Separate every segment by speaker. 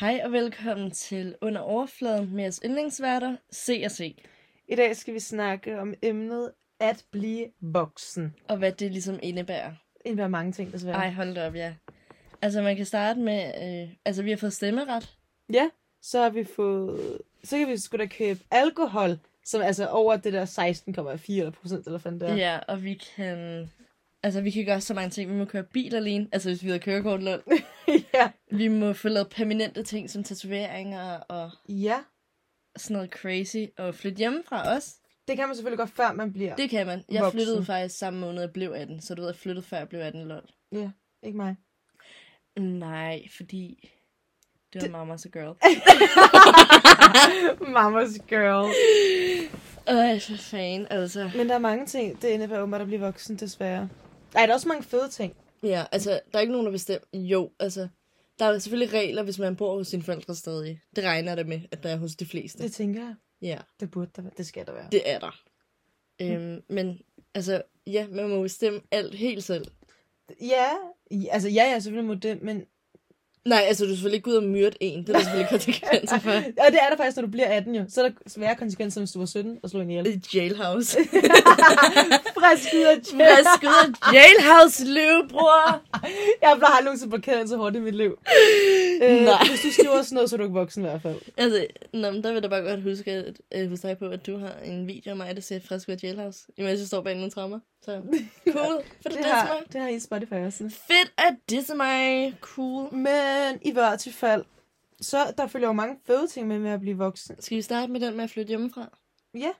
Speaker 1: Hej og velkommen til Under Overfladen med jeres yndlingsværter, C og C.
Speaker 2: I dag skal vi snakke om emnet at blive voksen.
Speaker 1: Og hvad det ligesom indebærer.
Speaker 2: En af mange ting, desværre.
Speaker 1: Ej, hold da op, ja. Altså, man kan starte med... Øh, altså, vi har fået stemmeret.
Speaker 2: Ja, så har vi fået... Så kan vi sgu da købe alkohol, som altså over det der 16,4 eller procent, eller fandt
Speaker 1: Ja.
Speaker 2: der.
Speaker 1: ja, og vi kan... Altså, vi kan gøre så mange ting. Vi må køre bil alene. Altså, hvis vi har kørekort, lol.
Speaker 2: ja.
Speaker 1: Vi må få lavet permanente ting som tatoveringer og
Speaker 2: ja.
Speaker 1: sådan noget crazy. Og flytte hjemmefra også.
Speaker 2: Det kan man selvfølgelig godt, før man bliver. Det...
Speaker 1: Det kan man. Jeg
Speaker 2: Voksen.
Speaker 1: flyttede faktisk samme måned, jeg blev 18. Så du ved, jeg flyttede før jeg blev 18, lol.
Speaker 2: Ikke mig.
Speaker 1: Nej, fordi... Det var mamas a girl.
Speaker 2: Mamas girl.
Speaker 1: Øj, for fanden, altså.
Speaker 2: Men der er mange ting, det indebærer åbenbart at blive voksen, desværre. Ej, der er også mange fede ting.
Speaker 1: Ja, altså, der er ikke nogen, der bestemmer. Jo, altså, der er jo selvfølgelig regler, hvis man bor hos sine forældre stadig. Det regner det med, at der er hos de fleste.
Speaker 2: Det tænker jeg.
Speaker 1: Ja,
Speaker 2: Det burde der være. Det skal der være.
Speaker 1: det er der. Øhm, men, altså, ja, man må bestemme alt helt selv.
Speaker 2: Ja, i- altså ja, ja, selvfølgelig må det, men...
Speaker 1: Nej, altså, du er selvfølgelig ikke ud og myrde en. Det er der selvfølgelig konsekvenser for.
Speaker 2: Altså, Og det er der faktisk, når du bliver 18 jo. Så er der svære konsekvenser, hvis du var 17 og slog en ihjel.
Speaker 1: I jailhouse.
Speaker 2: Frisk ud af
Speaker 1: Hvad skyder jailhouse løb, bror?
Speaker 2: Jeg har aldrig nogensinde blokeret så hårdt i mit liv. Øh,
Speaker 1: Nej.
Speaker 2: Hvis du skriver sådan noget, så er du ikke voksen i hvert fald.
Speaker 1: Altså, nå, men der vil jeg da bare godt huske, at, øh, huske dig på, at du har en video af mig, der ser frisk ud af jailhouse, imens jeg står bag nogle trammer. Så cool. For det,
Speaker 2: Det
Speaker 1: det
Speaker 2: har,
Speaker 1: mig.
Speaker 2: det har I Spotify også.
Speaker 1: Fedt at disse mig. Cool.
Speaker 2: Men i hvert fald, så der følger jo mange fede ting med med at blive voksen.
Speaker 1: Skal vi starte med den med at flytte hjemmefra?
Speaker 2: Ja.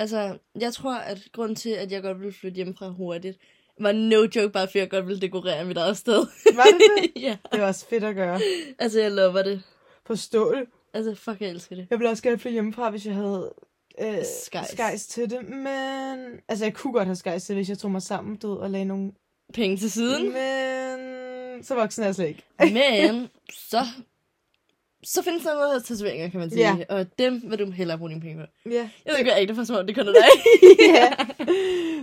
Speaker 1: Altså, jeg tror, at grunden til, at jeg godt ville flytte hjemmefra hurtigt, var no joke, bare fordi jeg godt ville dekorere mit eget sted.
Speaker 2: Var det det?
Speaker 1: ja.
Speaker 2: Det var også fedt at gøre.
Speaker 1: Altså, jeg lover det.
Speaker 2: Forstå det.
Speaker 1: Altså, fuck, jeg elsker det.
Speaker 2: Jeg ville også gerne flytte hjemmefra, hvis jeg havde øh,
Speaker 1: Skejs.
Speaker 2: skejs til det. Men... Altså, jeg kunne godt have skejs til det, hvis jeg tog mig sammen død og lagde nogle...
Speaker 1: Penge til siden.
Speaker 2: Men... Så voksen er jeg slet ikke.
Speaker 1: Men, så... Så findes der noget af tatoveringer, kan man sige.
Speaker 2: Ja.
Speaker 1: Og dem vil du hellere bruge dine penge på.
Speaker 2: Ja.
Speaker 1: Jeg ved ikke, det for små, det kun er dig.
Speaker 2: ja.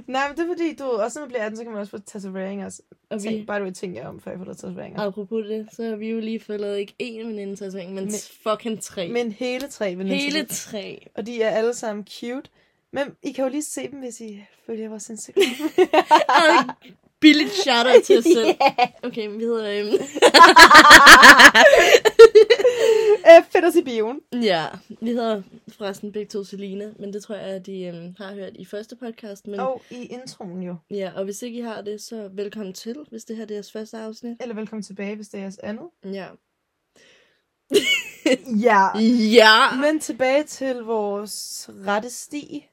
Speaker 2: Nej, men det er fordi, du også når man bliver 18, så kan man også få tatoveringer. Altså.
Speaker 1: og
Speaker 2: Okay. Tænk
Speaker 1: vi,
Speaker 2: bare, du ikke tænker om, før jeg får lavet tatoveringer.
Speaker 1: apropos det, så har vi jo lige fået lavet ikke én veninde tatovering, men, men
Speaker 2: Men-
Speaker 1: fucking tre. Men,
Speaker 2: Men hele tre veninder.
Speaker 1: Hele tre.
Speaker 2: Og de er alle sammen cute. Men I kan jo lige se dem, hvis I følger vores Instagram.
Speaker 1: Ej, Billigt shout-out til os selv. Okay, men vi hedder... Øhm,
Speaker 2: Øh, Fedt os i bioen.
Speaker 1: ja, vi hedder forresten begge to Selina, men det tror jeg, at I øhm, har hørt i første podcast. Men,
Speaker 2: Og i introen jo.
Speaker 1: ja, og hvis ikke I har det, så velkommen til, hvis det her det er jeres første afsnit.
Speaker 2: Eller velkommen tilbage, hvis det er jeres andet.
Speaker 1: Ja.
Speaker 2: Ja.
Speaker 1: Ja!
Speaker 2: Men tilbage til vores rette sti,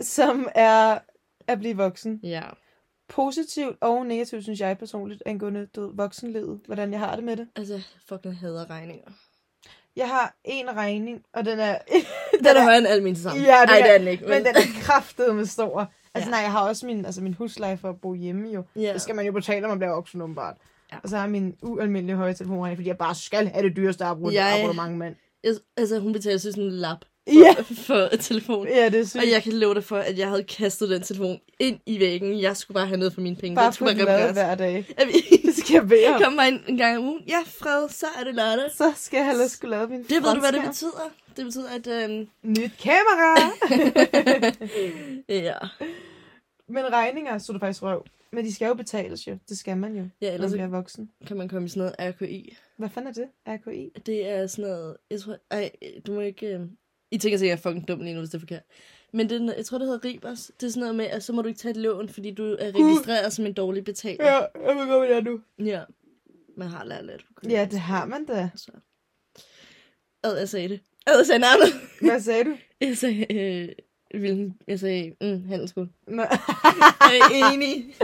Speaker 2: som er at blive voksen.
Speaker 1: Ja.
Speaker 2: Positivt og negativt, synes jeg personligt, angående død voksenlivet. Hvordan jeg har det med det.
Speaker 1: Altså, fucking jeg hader regninger.
Speaker 2: Jeg har en regning, og den er...
Speaker 1: Den er højere end al min sammen.
Speaker 2: Ja, det
Speaker 1: Ej,
Speaker 2: er-
Speaker 1: det er den ikke.
Speaker 2: Men den er kraftet med stor. Altså
Speaker 1: Ja.
Speaker 2: ja. nej, jeg har også min, altså min husleje for at bo hjemme jo.
Speaker 1: ja.
Speaker 2: Det skal man jo betale, når man bliver voksen åbenbart.
Speaker 1: Ja.
Speaker 2: Ja. Og så har jeg min ualmindelige høje telefonregning, fordi jeg bare skal have det dyreste abonnement,
Speaker 1: Jeg-
Speaker 2: jeg... abonnement mand.
Speaker 1: Jeg, altså, hun betaler sig sådan en lap
Speaker 2: Ja,
Speaker 1: for, for telefon.
Speaker 2: ja, det er sygt.
Speaker 1: Og jeg kan love dig for, at jeg havde kastet den telefon ind i væggen. Jeg skulle bare have noget for mine penge.
Speaker 2: bare
Speaker 1: den
Speaker 2: på
Speaker 1: skulle bare
Speaker 2: mad
Speaker 1: repareres.
Speaker 2: hver dag.
Speaker 1: At vi-
Speaker 2: Det skal jeg bede om.
Speaker 1: Kom mig en, en gang om ugen. Ja, fred, så er det lørdag.
Speaker 2: Så skal jeg hellere skulle lave min
Speaker 1: Det ved du, hvad det
Speaker 2: frontskærm.
Speaker 1: betyder. Det betyder, at... Øhm,
Speaker 2: Nyt kamera!
Speaker 1: ja.
Speaker 2: Men regninger, så er det faktisk røv. Men de skal jo betales jo. Det skal man jo,
Speaker 1: ja,
Speaker 2: når
Speaker 1: ellers
Speaker 2: man
Speaker 1: så
Speaker 2: bliver voksen.
Speaker 1: kan man komme i sådan noget RKI.
Speaker 2: Hvad fanden er det? RKI?
Speaker 1: Det er sådan noget... Jeg tror... Ej, du må ikke... Øhm, I tænker sikkert, at jeg er fucking dum lige nu, hvis det er forkert. Men det, er noget- jeg tror, det hedder Ribers. Det er sådan noget med, at så må du ikke tage et lån, fordi du er registreret som en dårlig betaler.
Speaker 2: Ja, jeg ved godt, hvad det er nu.
Speaker 1: Ja. Man har lært lidt.
Speaker 2: Ja, det har man da.
Speaker 1: Så. Ad, jeg sagde det. Ad, jeg sagde navnet.
Speaker 2: Hvad sagde du?
Speaker 1: Jeg sagde, øh, hvilken, jeg sagde, mm, handelsskole.
Speaker 2: Nå.
Speaker 1: Jeg er enig.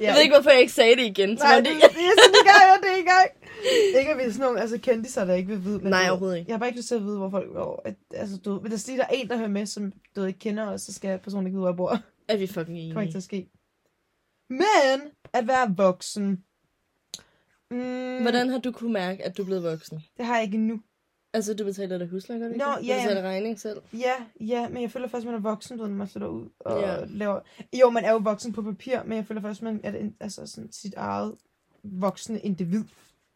Speaker 2: Ja.
Speaker 1: Jeg ved ikke, hvorfor jeg ikke sagde det igen. Så
Speaker 2: Nej,
Speaker 1: var
Speaker 2: det,
Speaker 1: det...
Speaker 2: det er sådan, det gør jeg, det er ikke engang. Ikke at vi er sådan nogle altså, kendiser, der ikke vil vide.
Speaker 1: Nej,
Speaker 2: du-
Speaker 1: overhovedet ikke.
Speaker 2: Jeg har bare ikke lyst til at vide, hvor folk går. At, altså, du, hvis der lige der er en, der hører med, som du ved, ikke kender os, så skal personen ikke vide, hvor jeg bor. Det
Speaker 1: Er vi fucking
Speaker 2: kommer ikke til
Speaker 1: enige?
Speaker 2: at ske. Men at være voksen. Mm,
Speaker 1: Hvordan har du kunne mærke, at du er blevet voksen?
Speaker 2: Det har jeg ikke endnu. Altså,
Speaker 1: Altså, du betaler dig husleje, gør du ikke?
Speaker 2: Nå,
Speaker 1: det?
Speaker 2: ja,
Speaker 1: Du
Speaker 2: ja.
Speaker 1: betaler regning selv.
Speaker 2: ja, ja, men jeg føler først, man er voksen, du ved, når man flytter ud og
Speaker 1: Ja.
Speaker 2: laver... Jo, man er jo voksen på papir, men jeg føler først, man er det, altså, sådan, sit eget voksne individ.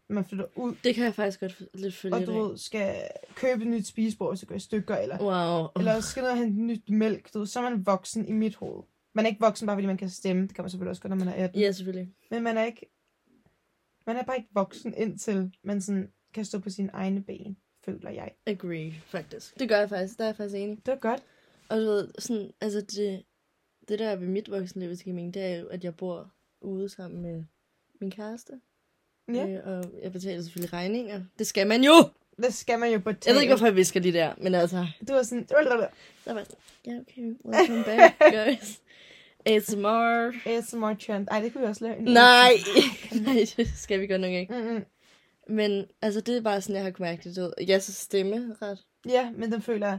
Speaker 2: man flytter ud,
Speaker 1: Det kan jeg faktisk godt f- lidt følge.
Speaker 2: og
Speaker 1: i
Speaker 2: du
Speaker 1: dag.
Speaker 2: ved, skal købe et nyt spisebord, hvis det går i stykker, eller,
Speaker 1: Wow.
Speaker 2: eller skal ned og hente nyt mælk, du ved, så er man voksen i mit hoved. Man er ikke voksen, bare fordi man kan stemme. Det kan man selvfølgelig også godt, når man er 18.
Speaker 1: Ja, selvfølgelig.
Speaker 2: Men man er ikke... Man er bare ikke voksen, indtil man sådan kan stå på sine egne ben, føler jeg.
Speaker 1: Agree, faktisk. Det gør jeg faktisk. Der er jeg faktisk enig.
Speaker 2: Det var godt.
Speaker 1: Og du ved, sådan, altså det, det der er ved mit voksenliv, hvis det giver mening, det er jo, at jeg bor ude sammen med min kæreste.
Speaker 2: Ja.
Speaker 1: Øh, og jeg betaler selvfølgelig regninger. Det skal man jo!
Speaker 2: Hvad skal man jo på
Speaker 1: Jeg ved ikke, hvorfor jeg visker lige der, men altså...
Speaker 2: Du er sådan... "Ulala,
Speaker 1: Der var jeg sådan, ja, yeah, okay, welcome back, guys. ASMR.
Speaker 2: ASMR chant. Ej, det kunne vi også lave. en-
Speaker 1: Nej, nej, det skal vi godt nok ikke.
Speaker 2: Mm-mm.
Speaker 1: Men altså, det er bare sådan, jeg har kunnet mærke det. du ved. Jeg så stemme ret.
Speaker 2: Ja, men den føler jeg...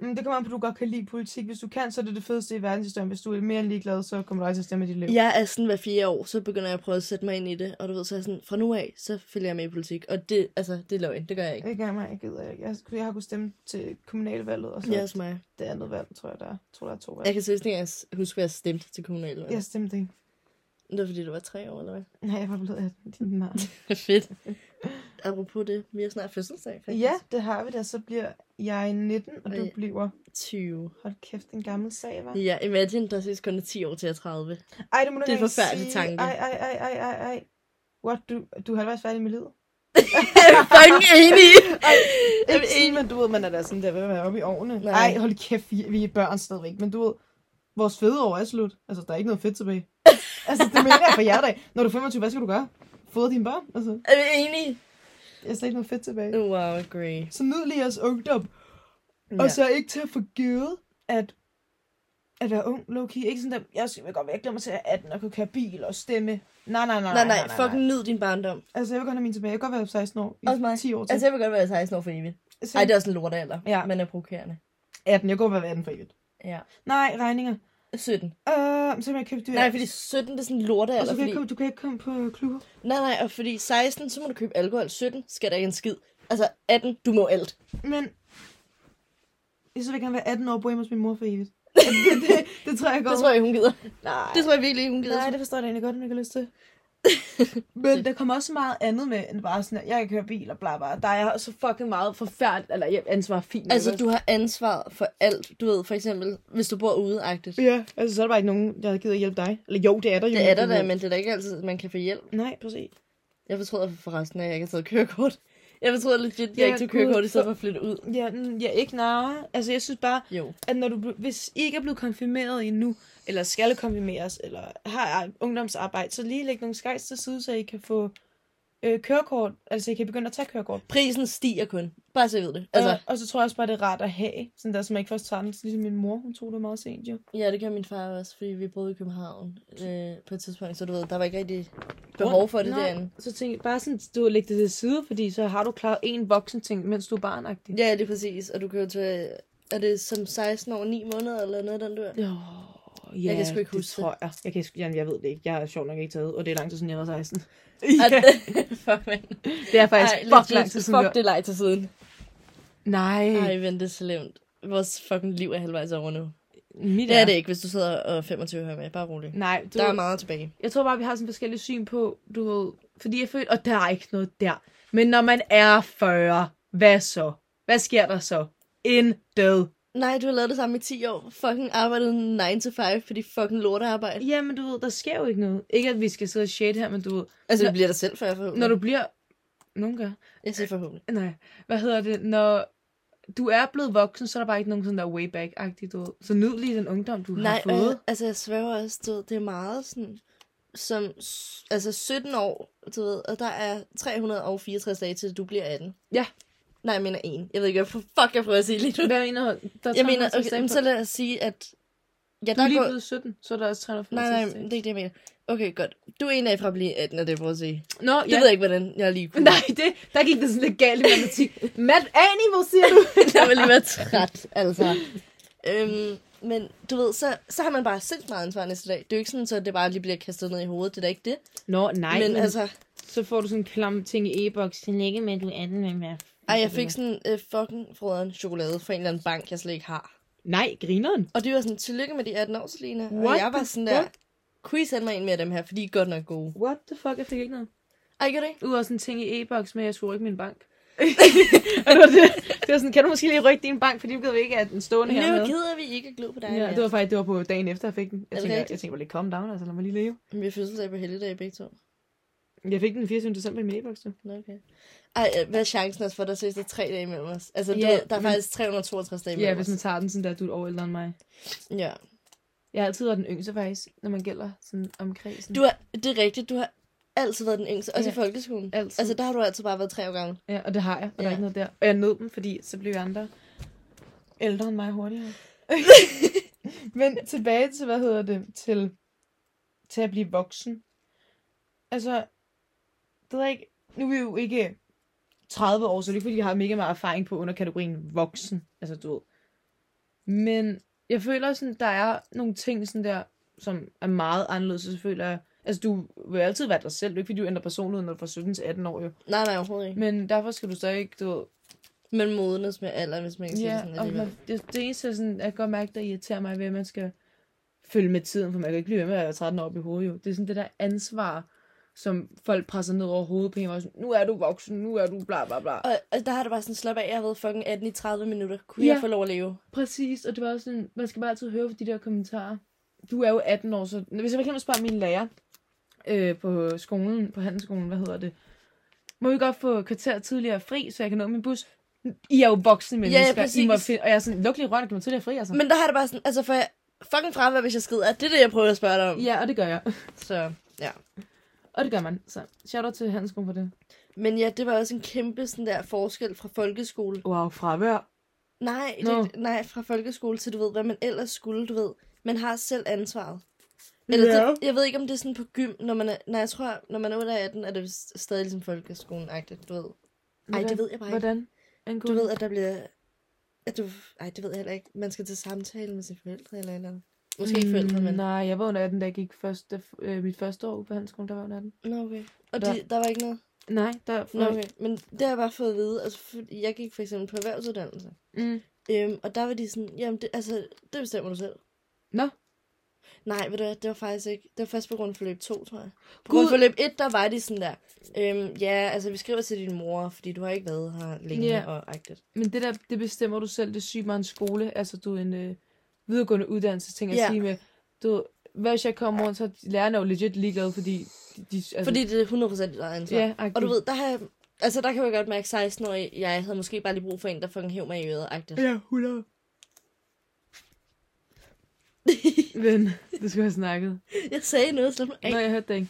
Speaker 2: Mm, det kommer an på, at du godt kan lide politik. Hvis du kan, så er det det fedeste i verdenshistorien. Hvis du er mere end ligeglad, så kommer du aldrig til at stemme i dit liv.
Speaker 1: Jeg er sådan hver fire år, så begynder jeg at prøve at sætte mig ind i det. Og du ved, så er jeg sådan, fra nu af, så følger jeg med i politik. Og det, altså, det er løgn, det gør jeg ikke.
Speaker 2: Ikke engang mig, jeg gider ikke. Jeg, skulle- jeg har kunnet stemme til kommunalvalget, og så
Speaker 1: Det er også mig.
Speaker 2: det andet valg, tror jeg, der er. Jeg tror, der er to valg.
Speaker 1: Jeg kan seriøst ikke engang huske, hvad jeg stemte til kommunalvalget.
Speaker 2: Jeg stemte ikke.
Speaker 1: Det var fordi, det var tre år, eller hvad?
Speaker 2: Nej, jeg var blevet 18. Din mar.
Speaker 1: Fedt. Apropos det, vi har snart fødselsdag, faktisk.
Speaker 2: Ja, det har vi da. Så bliver jeg 19, og du
Speaker 1: Ej.
Speaker 2: bliver...
Speaker 1: 20.
Speaker 2: Hold kæft, en gammel sag, var.
Speaker 1: Ja, imagine, der sidst kun er 10 år til at 30.
Speaker 2: Ej, det må du
Speaker 1: Det er
Speaker 2: ikke
Speaker 1: en forfærdelig
Speaker 2: sige.
Speaker 1: tanke.
Speaker 2: Ej, ej, ej, ej, ej, ej. What? Du, du er halvvejs færdig med livet?
Speaker 1: Jeg er fucking enig. Jeg
Speaker 2: Ikke sådan, men du ved, man er da sådan der ved at være oppe i årene.
Speaker 1: Nej.
Speaker 2: Nej, hold kæft, vi, vi er børn stadigvæk. Men du ved, vores fede år er slut. Altså, der er ikke noget fedt tilbage. altså, det mener jeg for jer dag. Når du er 25, hvad skal du gøre? Fodre dine børn? Altså,
Speaker 1: Er vi enige?
Speaker 2: jeg er slet ikke noget fedt tilbage.
Speaker 1: Wow, agree.
Speaker 2: Så nyd lige jeres ungdom.
Speaker 1: Ja.
Speaker 2: Og så ikke til at forgive, at at være ung, low key. Ikke sådan, at jeg skal godt være, jeg glemmer til at jeg er 18 og kunne køre bil og stemme. Nej, nej,
Speaker 1: Nej,
Speaker 2: nej.
Speaker 1: nej, fucking nyd din barndom.
Speaker 2: Altså, jeg vil godt have mine tilbage. Jeg kan godt være 16 år. I
Speaker 1: Også mig.
Speaker 2: 10 år til.
Speaker 1: Altså, jeg vil godt være 16 år for evigt.
Speaker 2: Altså,
Speaker 1: Ej, det er også en lort alder.
Speaker 2: Ja.
Speaker 1: Men er provokerende.
Speaker 2: 18. Jeg kunne godt være 18 for evigt.
Speaker 1: Ja.
Speaker 2: Nej, regninger.
Speaker 1: 17.
Speaker 2: Øh, så kan man ikke købe dyr.
Speaker 1: Nej, fordi 17 det er sådan en lort
Speaker 2: Og så
Speaker 1: alder.
Speaker 2: kan
Speaker 1: Fordi...
Speaker 2: ikke komme, du kan ikke komme på klubber.
Speaker 1: Nej, nej, og fordi 16, så må du købe alkohol. 17 skal der ikke en skid. Altså, 18, du må alt.
Speaker 2: Men jeg så vil jeg gerne være 18 år og bo hjemme hos min mor for evigt. det, det, det, tror jeg godt.
Speaker 1: Det tror jeg, hun gider.
Speaker 2: Nej.
Speaker 1: Det tror jeg virkelig, hun gider.
Speaker 2: Nej, det forstår jeg da egentlig godt, om jeg ikke har lyst til. Men der kommer også meget andet med, end bare sådan, at jeg kan køre bil og bla bla. Der er så fucking meget forfærdeligt, eller jeg ansvar fint.
Speaker 1: Altså,
Speaker 2: ikke?
Speaker 1: du har ansvar for alt. Du ved, for eksempel, hvis du bor ude-agtigt.
Speaker 2: Ja, altså så er der bare ikke nogen, der gider hjælpe dig. Eller jo, det er der jo.
Speaker 1: Det er der
Speaker 2: men-
Speaker 1: da, men det er da ikke altid, man kan få hjælp.
Speaker 2: Nej, præcis.
Speaker 1: Jeg fortryder forresten, at jeg ikke har taget kørekort. Jeg fortryder legit, jeg
Speaker 2: Ja,
Speaker 1: ikke tog
Speaker 2: gud,
Speaker 1: kørekort, i stedet
Speaker 2: for-
Speaker 1: for at flytte ud.
Speaker 2: Ja, mm, ja ikke nej. Altså jeg synes bare,
Speaker 1: Jo.
Speaker 2: at når du, ble- hvis I ikke er blevet konfirmeret endnu, eller skal konfirmeres, eller har ungdomsarbejde, så lige læg nogle skejs til side, så I kan få øh, kørekort, altså I kan begynde at tage kørekort.
Speaker 1: Prisen stiger kun. Bare så I ved det. Altså,
Speaker 2: og, og, så tror jeg også bare, det er rart at have, sådan der, som ikke først tager den, ligesom min mor, hun tog det meget sent, jo.
Speaker 1: ja, det gør min far også, fordi vi boede i København øh, på et tidspunkt, så du ved, der var ikke rigtig behov for det
Speaker 2: Nej,
Speaker 1: derinde.
Speaker 2: Så tænk, bare sådan, du lægger det til side, fordi så har du klaret en voksen ting, mens du er barnagtig.
Speaker 1: Ja, det er præcis, og du kan jo tage... Er det som 16 år, 9 måneder eller noget, den dør?
Speaker 2: Ja, ja,
Speaker 1: Jeg kan sgu ikke
Speaker 2: det
Speaker 1: huske
Speaker 2: tror jeg. Jeg, kan, sgu- jeg, jeg ved det ikke. Jeg er sjov nok ikke taget, og det er lang tid siden, jeg var 16.
Speaker 1: Ja. fuck, man.
Speaker 2: det er faktisk
Speaker 1: Ej,
Speaker 2: fuck lang
Speaker 1: legit,
Speaker 2: tid siden.
Speaker 1: fuck
Speaker 2: jeg-
Speaker 1: det leg til siden. Mm.
Speaker 2: Nej,
Speaker 1: Ej, vent, det er så lavt. Vores fucking liv er halvvejs over nu.
Speaker 2: mit
Speaker 1: Det er det ikke, hvis du sidder og 25 her med. Bare rolig.
Speaker 2: Nej, du,
Speaker 1: Der er meget tilbage.
Speaker 2: jeg tror bare, vi har sådan forskellige syn på, du ved, fordi jeg føler, og der er ikke noget der. Men når man er 40, hvad så? Hvad sker der så? Intet.
Speaker 1: Nej, du har lavet det samme i 10 år. Fucking arbejdet 9 to 5, fordi fucking lortearbejde.
Speaker 2: Jamen, du ved, der sker jo ikke noget. Ikke, at vi skal sidde og shade her, men du ved,
Speaker 1: Altså,
Speaker 2: Når-
Speaker 1: det bliver dig selv, for jeg forhåbentlig.
Speaker 2: når du bliver... Nogen gør.
Speaker 1: Jeg siger forhåbentlig.
Speaker 2: Nej, hvad hedder det? Når du er blevet voksen, så er der bare ikke nogen sådan der way back-agtig, du ved. Så nyd lige den ungdom, du
Speaker 1: Nej,
Speaker 2: har fået.
Speaker 1: øh, altså, jeg svæver også, du ved, det er meget sådan, som, s- altså 17 år, du ved, og der er 364 dage til, du bliver 18.
Speaker 2: Ja.
Speaker 1: Nej, jeg mener en. Jeg ved ikke, hvad fuck jeg prøver at sige lige nu.
Speaker 2: Hvad mener du? Der er
Speaker 1: Jeg mener,
Speaker 2: 365
Speaker 1: okay,
Speaker 2: dage
Speaker 1: jamen,
Speaker 2: på-
Speaker 1: så lad os sige, at... Ja,
Speaker 2: Du er
Speaker 1: der
Speaker 2: lige
Speaker 1: går...
Speaker 2: blevet 17, så er der også 365
Speaker 1: Nej, nej, det er
Speaker 2: dage.
Speaker 1: ikke det, jeg mener. Okay, godt. Du er en af fra at blive 18, er det, jeg prøver at sige.
Speaker 2: Nå,
Speaker 1: Det
Speaker 2: ja.
Speaker 1: ved jeg ikke, hvordan jeg lige kunne.
Speaker 2: Nej, det, der gik det sådan lidt galt i matematik. Mat animal, siger du?
Speaker 1: jeg ville være træt, altså. øhm, men du ved, så, så har man bare sindssygt meget ansvar næste dag. Det er jo ikke sådan, så det bare lige bliver kastet ned i hovedet. Det er da ikke det.
Speaker 2: Nå, nej.
Speaker 1: men altså,
Speaker 2: Så får du sådan en klam ting i e-boks. Den ikke med, du er anden med mig.
Speaker 1: ej, jeg fik sådan øh, fucking frøderen chokolade fra en eller anden bank, jeg slet ikke har.
Speaker 2: Nej, grineren.
Speaker 1: Og det var sådan, tillykke med de 18 år, Selina. Og
Speaker 2: What
Speaker 1: jeg var
Speaker 2: the
Speaker 1: sådan der,
Speaker 2: fuck?
Speaker 1: kunne I sende mig en mere af dem her, for de er godt nok gode.
Speaker 2: What the fuck, jeg fik ikke noget.
Speaker 1: Ej, Ej, gør det ikke?
Speaker 2: Udover sådan en ting i e-boks med, at jeg skulle rykke min bank. og det var, det, det var sådan, kan du måske lige rykke din bank, for det ved vi ikke, at den stående
Speaker 1: Nu
Speaker 2: her
Speaker 1: er
Speaker 2: med.
Speaker 1: ked af, at vi ikke er glade på dig.
Speaker 2: Ja, det var faktisk det var på dagen efter, jeg fik den. Jeg
Speaker 1: det
Speaker 2: tænkte, jeg,
Speaker 1: rigtigt?
Speaker 2: jeg tænkte, bare lige calm down, altså lad mig lige leve.
Speaker 1: Vi har fødselsdag på helligdag begge to.
Speaker 2: Jeg fik den den 24. december i min e-boks, du.
Speaker 1: Nå, okay. Ej, øh, hvad er chancen også for, at der ses der er tre dage imellem os? Altså,
Speaker 2: Ja,
Speaker 1: yeah, ved, der er
Speaker 2: men-
Speaker 1: faktisk 362 dage
Speaker 2: Ja,
Speaker 1: imellem
Speaker 2: hvis man
Speaker 1: os.
Speaker 2: tager den sådan der, du er et år ældre end mig.
Speaker 1: Ja.
Speaker 2: Jeg har altid været den yngste faktisk, når man gælder sådan om kredsen.
Speaker 1: Du har, det er rigtigt, du har altid været den yngste, også
Speaker 2: Ja.
Speaker 1: i folkeskolen.
Speaker 2: Altid.
Speaker 1: Altså, der har du altid bare været tre år gammel.
Speaker 2: Ja, og det har jeg, og der er
Speaker 1: Ja.
Speaker 2: ikke noget der. Og jeg nød dem, fordi så blev andre ældre end mig hurtigere. Men tilbage til, hvad hedder det, til, til at blive voksen. Altså, det ved jeg ikke, nu er vi jo ikke 30 år, så det er ikke, fordi jeg har mega meget erfaring på under kategorien voksen. Altså, du ved. Men jeg føler sådan, der er nogle ting sådan der, som er meget anderledes, så føler jeg, altså du vil altid være dig selv, det er ikke fordi du ændrer personlighed, når du er fra 17 til 18 år jo.
Speaker 1: Nej, nej, overhovedet ikke.
Speaker 2: Men derfor skal du stadig, du ved,
Speaker 1: Men modenes med alderen, hvis man kan sige det sådan
Speaker 2: ja, og
Speaker 1: alligevel.
Speaker 2: man, det, det eneste, sådan, jeg kan godt mærke, der irriterer mig ved, at man skal følge med tiden, for man kan ikke blive ved med at være 13 år op i hovedet, jo. Det er sådan det der ansvar, som folk presser ned over hovedet på en, og sådan, nu er du voksen, nu er du bla bla bla.
Speaker 1: Og, og der har det bare sådan, slap af, jeg har været fucking 18 i 30 minutter. Kunne ja.
Speaker 2: Ja.
Speaker 1: jeg få lov at leve?
Speaker 2: Præcis, og det var også sådan, man skal bare altid høre på de der kommentarer. Du er jo 18 år, så hvis jeg for eksempel spørger min lærer øh, på skolen, på handelsskolen, hvad hedder det, må vi godt få et kvarter tidligere fri, så jeg kan nå min bus? I er jo voksne
Speaker 1: ja,
Speaker 2: mennesker, I må
Speaker 1: præcis.
Speaker 2: finde, og jeg er sådan, luk lige røven, kan man tidligere fri, altså?
Speaker 1: Men der har det bare sådan, altså, for jeg fucking fravær, hvis jeg skrider. Det er det, jeg prøver at spørge dig om.
Speaker 2: Ja, og det gør jeg.
Speaker 1: Så, ja.
Speaker 2: Og det gør man. Så shout out til handelsskolen for det.
Speaker 1: Men ja, det var også en kæmpe sådan der forskel fra folkeskole.
Speaker 2: Wow, fravær.
Speaker 1: Nej,
Speaker 2: Nå.
Speaker 1: det, nej, fra folkeskole til du ved, hvad man ellers skulle, du ved. Man har selv ansvaret. Eller
Speaker 2: Ja.
Speaker 1: det, jeg ved ikke, om det er sådan på gym, når man er, nej, jeg tror, når man er under 18, er det vist stadig ligesom folkeskolen-agtigt, du ved. Ej, det ved jeg bare ikke.
Speaker 2: Hvordan? En
Speaker 1: Du ved, at der bliver, at du, ej, det ved jeg heller ikke, man skal til samtale med sine forældre eller et eller andet. Måske ikke forældre, men.
Speaker 2: Mm, Nej, jeg var under 18, da jeg gik første, øh, mit første år på handelsskolen, der var jeg under 18.
Speaker 1: Nå, okay. Og
Speaker 2: Der-
Speaker 1: de, der var ikke noget?
Speaker 2: Mm, Nej, der
Speaker 1: Nå, okay. Men det har jeg bare fået at vide, altså, for- jeg gik for eksempel på erhvervsuddannelse.
Speaker 2: Mm.
Speaker 1: Øhm, og der var de sådan, jamen, det, altså, det bestemmer du selv.
Speaker 2: Nå.
Speaker 1: Nej, ved du hvad, det var faktisk ikke. Det var først på grund af forløb 2, tror jeg. På
Speaker 2: Gud.
Speaker 1: grund af forløb 1, der var de sådan der, øhm, ja, altså, vi skriver til din mor, fordi du har ikke været her længe
Speaker 2: Ja.
Speaker 1: yeah. og agtet.
Speaker 2: Men det der, det bestemmer du selv. Det er sygt meget en skole. Altså, du er en øh, videregående uddannelse, ting at
Speaker 1: Ja.
Speaker 2: sige med. Du, ved, hvad hvis jeg kommer rundt, så er lærerne jo legit ligeglade, fordi de... de altså,
Speaker 1: Fordi det er 100% dit eget ansvar.
Speaker 2: Ja, agtigt.
Speaker 1: Og du ved, der har jeg, altså, der kan jeg godt mærke, 16 år, jeg havde måske bare lige brug for en, der fucking hæv mig i øret, agtet.
Speaker 2: Ja, 100. Men, det skulle jeg have snakket.
Speaker 1: jeg sagde noget, slap nu af.
Speaker 2: Nej, jeg hørte det ikke.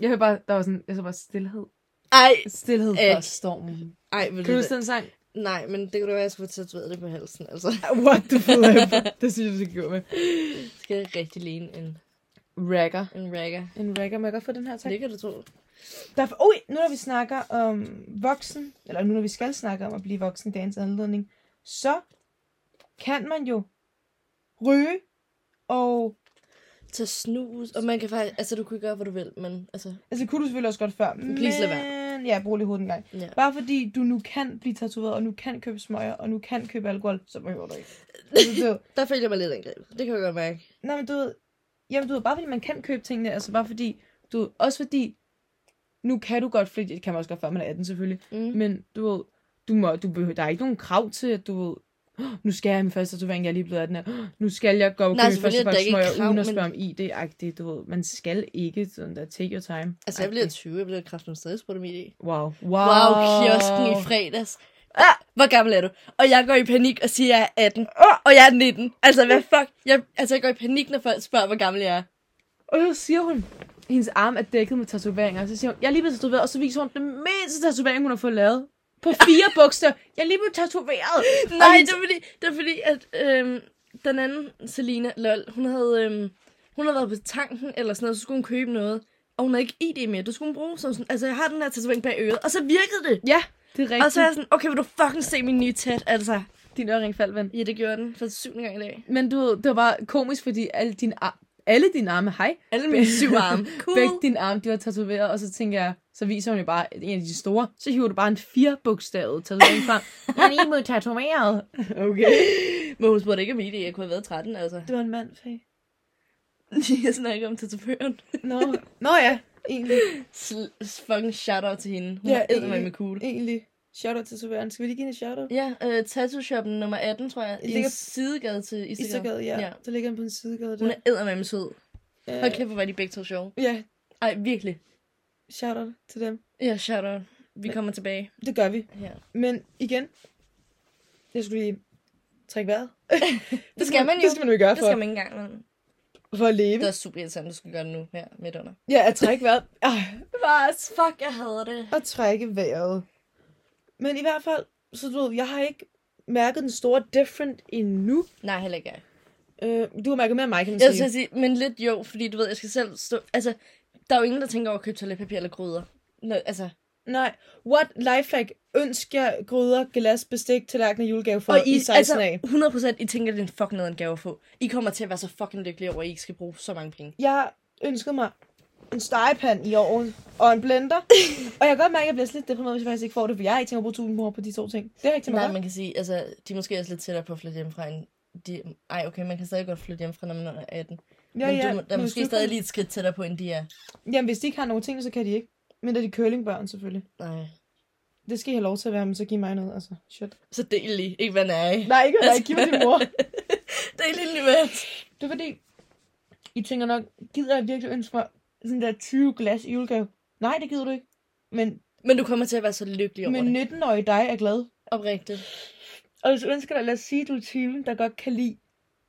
Speaker 2: Jeg hørte bare, der var sådan, jeg så bare stillhed.
Speaker 1: Ej,
Speaker 2: Stilhed
Speaker 1: Øh.
Speaker 2: før stormen.
Speaker 1: ej, vil
Speaker 2: Kan
Speaker 1: du
Speaker 2: du
Speaker 1: det?
Speaker 2: huske den sang?
Speaker 1: Nej, men det kunne da være, at jeg skulle få tatoveret det på halsen, altså.
Speaker 2: What the flip? det synes jeg, du skal gå med.
Speaker 1: Skal jeg rigtig ligne en,
Speaker 2: Ragger.
Speaker 1: en ragger?
Speaker 2: En ragger, må jeg godt få den her, tak?
Speaker 1: Det kan du tro.
Speaker 2: Der, ui, nu når vi snakker om voksen, eller nu når vi skal snakke om at blive voksen i dagens anledning, så kan man jo ryge og...
Speaker 1: Til snus, og man kan faktisk, altså du kunne gøre, hvad du vil, men altså,
Speaker 2: Altså, det kunne du selvfølgelig også godt før, men...
Speaker 1: Please lad
Speaker 2: Ja, brug lige hovedet en gang.
Speaker 1: ja.
Speaker 2: Bare fordi du nu kan blive tatoveret, og nu kan købe smøger, og nu kan købe alkohol, så behøver du ikke. Altså, det, er jo-
Speaker 1: Der følte jeg mig lidt angrebet. Det kan jeg godt mærke.
Speaker 2: Nej, men du ved, jamen, du ved, bare fordi man kan købe tingene, altså bare fordi, du ved, også fordi, nu kan du godt, fordi det kan man også godt, før man er 18 selvfølgelig,
Speaker 1: Mm.
Speaker 2: men du ved, du må, du behøver, der er ikke nogen krav til, at du ved, "Åh, nu skal jeg have min første tatovering, jeg er lige blevet 18 år. Nu skal jeg gå og
Speaker 1: Nej,
Speaker 2: købe min
Speaker 1: selvfølgelig
Speaker 2: første
Speaker 1: er der
Speaker 2: pakke
Speaker 1: ikke et
Speaker 2: smøger,
Speaker 1: krav,
Speaker 2: uden at
Speaker 1: men-
Speaker 2: spørge om ID-agtigt, du ved. Man skal ikke sådan der, take your time.
Speaker 1: Altså, jeg bliver 20, jeg bliver kraften stadig spurgt om idé.
Speaker 2: Wow. Wow.
Speaker 1: Wow, kiosken i fredags. Ah, hvor gammel er du? Og jeg går i panik og siger, at jeg er 18. Ah, og jeg er 19. Altså, hvad fuck? Jeg, altså, jeg går i panik, når folk spørger, hvor gammel jeg er.
Speaker 2: Og så siger hun, hendes arm er dækket med tatoveringer. Og så siger hun, jeg er lige blevet tatoveret. Og så viser hun den mindste tatovering, hun har fået lavet. På fire bogstaver. Jeg er lige blevet tatoveret.
Speaker 1: Nej,
Speaker 2: hendes-
Speaker 1: det er fordi, det er fordi at øhm, den anden, Selina, lol, hun havde, øhm, hun havde været på tanken eller sådan noget, så skulle hun købe noget. Og hun havde ikke ID mere, det skulle hun bruge. Så hun sådan, altså, jeg har den her tatovering bag øret, og så virkede det.
Speaker 2: Ja, det er rigtigt.
Speaker 1: Og så er jeg sådan, okay, vil du fucking se min nye tæt, altså.
Speaker 2: din øring faldt, ven.
Speaker 1: Ja, det gjorde den for syvende gang i dag.
Speaker 2: Men du ved, det var komisk, fordi alle dine, ar- alle dine arme, hej,
Speaker 1: Alle mine syv arme. Cool.
Speaker 2: begge dine arme, de var tatoveret, og så tænker jeg, så viser hun jo bare en af de store, så hiver du bare en firebogstavet tatovering frem. Han er lige blevet tatoveret.
Speaker 1: Okay. Men hun spurgte ikke om ID, jeg kunne have været 13, altså.
Speaker 2: Det var en mand, fag.
Speaker 1: Jeg snakker om tatovøren.
Speaker 2: Nå. Nå ja, egentlig.
Speaker 1: S- fucking shout-out til hende. Hun
Speaker 2: Ja,
Speaker 1: ja, er med
Speaker 2: egentlig.
Speaker 1: cool.
Speaker 2: egentlig. Shout-out til Soveren. Skal vi lige give hende et shout-out?
Speaker 1: Ja, øh, tattoo-shoppen nummer 18, tror jeg. I
Speaker 2: Ligger-
Speaker 1: en sidegade til Istergade.
Speaker 2: Istergade, ja.
Speaker 1: Ja.
Speaker 2: ja. Der ligger han på en sidegade der.
Speaker 1: Hun er eddermame sød.
Speaker 2: Øh,
Speaker 1: Hold kæft, hvor var de begge to sjove.
Speaker 2: Ja,
Speaker 1: Ej, virkelig.
Speaker 2: shout-out til dem.
Speaker 1: Ja, shout-out. Vi kommer tilbage.
Speaker 2: Det gør vi.
Speaker 1: Ja.
Speaker 2: Men igen, jeg skulle lige trække vejret.
Speaker 1: Det skal man jo.
Speaker 2: Det skal man jo gøre
Speaker 1: Det skal
Speaker 2: for,
Speaker 1: man ikke engang. men
Speaker 2: for at leve.
Speaker 1: Det er også super irriterende, du skal gøre det nu her midt under.
Speaker 2: Ja, at trække vejret. Ah,
Speaker 1: Bare, fuck, jeg hader det.
Speaker 2: at trække vejret. Men i hvert fald, så du ved, jeg har ikke mærket den store different endnu.
Speaker 1: Nej, heller ikke jeg.
Speaker 2: Øh, du har mærket mere end mig, kan man
Speaker 1: Jeg
Speaker 2: sige.
Speaker 1: skal sige, men lidt jo, fordi du ved, jeg skal selv stå... Altså, der er jo ingen, der tænker over at købe toiletpapir eller gryder. Nå, altså,
Speaker 2: Nej. What lifehack ønsker jeg gryder, glas, bestik, tallerkener, julegave for i 16
Speaker 1: altså,
Speaker 2: af?
Speaker 1: 100% I tænker, at det er en fucking nederen gave at få. I kommer til at være så fucking lykkelige over, at I ikke skal bruge så mange penge.
Speaker 2: Jeg ønskede mig en stegepand i ovnen og en blender. og jeg kan godt mærke, at jeg bliver lidt deprimeret, hvis jeg faktisk ikke får det, for jeg har ikke tænkt mig at bruge 1000 kroner på de to ting. Det har jeg ikke tænkt mig
Speaker 1: Nej,
Speaker 2: at
Speaker 1: man kan sige, altså, de er måske også lidt tættere på at flytte hjemmefra end de... Ej, okay, man kan stadig godt flytte hjemmefra, når man er under 18.
Speaker 2: gøre.
Speaker 1: men du, der er
Speaker 2: men
Speaker 1: måske
Speaker 2: hvis du-
Speaker 1: stadig lige et skridt tættere på, end de er.
Speaker 2: Jamen, hvis de ikke har nogen ting, så kan de ikke. Men det er de curlingbørn, selvfølgelig.
Speaker 1: Nej.
Speaker 2: Det skal I have lov til at være, men så giv mig noget, altså. Shit.
Speaker 1: Så del lige, ikke hvad nej.
Speaker 2: Nej, ikke at give mig din mor.
Speaker 1: Altså- Del lige lige med.
Speaker 2: Det er fordi, I tænker nok, gider jeg virkelig ønske mig sådan der 20 glas i julegave? Nej, det gider du ikke. Men,
Speaker 1: Men du kommer til at være så lykkelig over
Speaker 2: men
Speaker 1: det.
Speaker 2: 19-årige dig er glad.
Speaker 1: Oprigtigt.
Speaker 2: Og hvis du ønsker dig, lad os sige, du er typen, der godt kan lide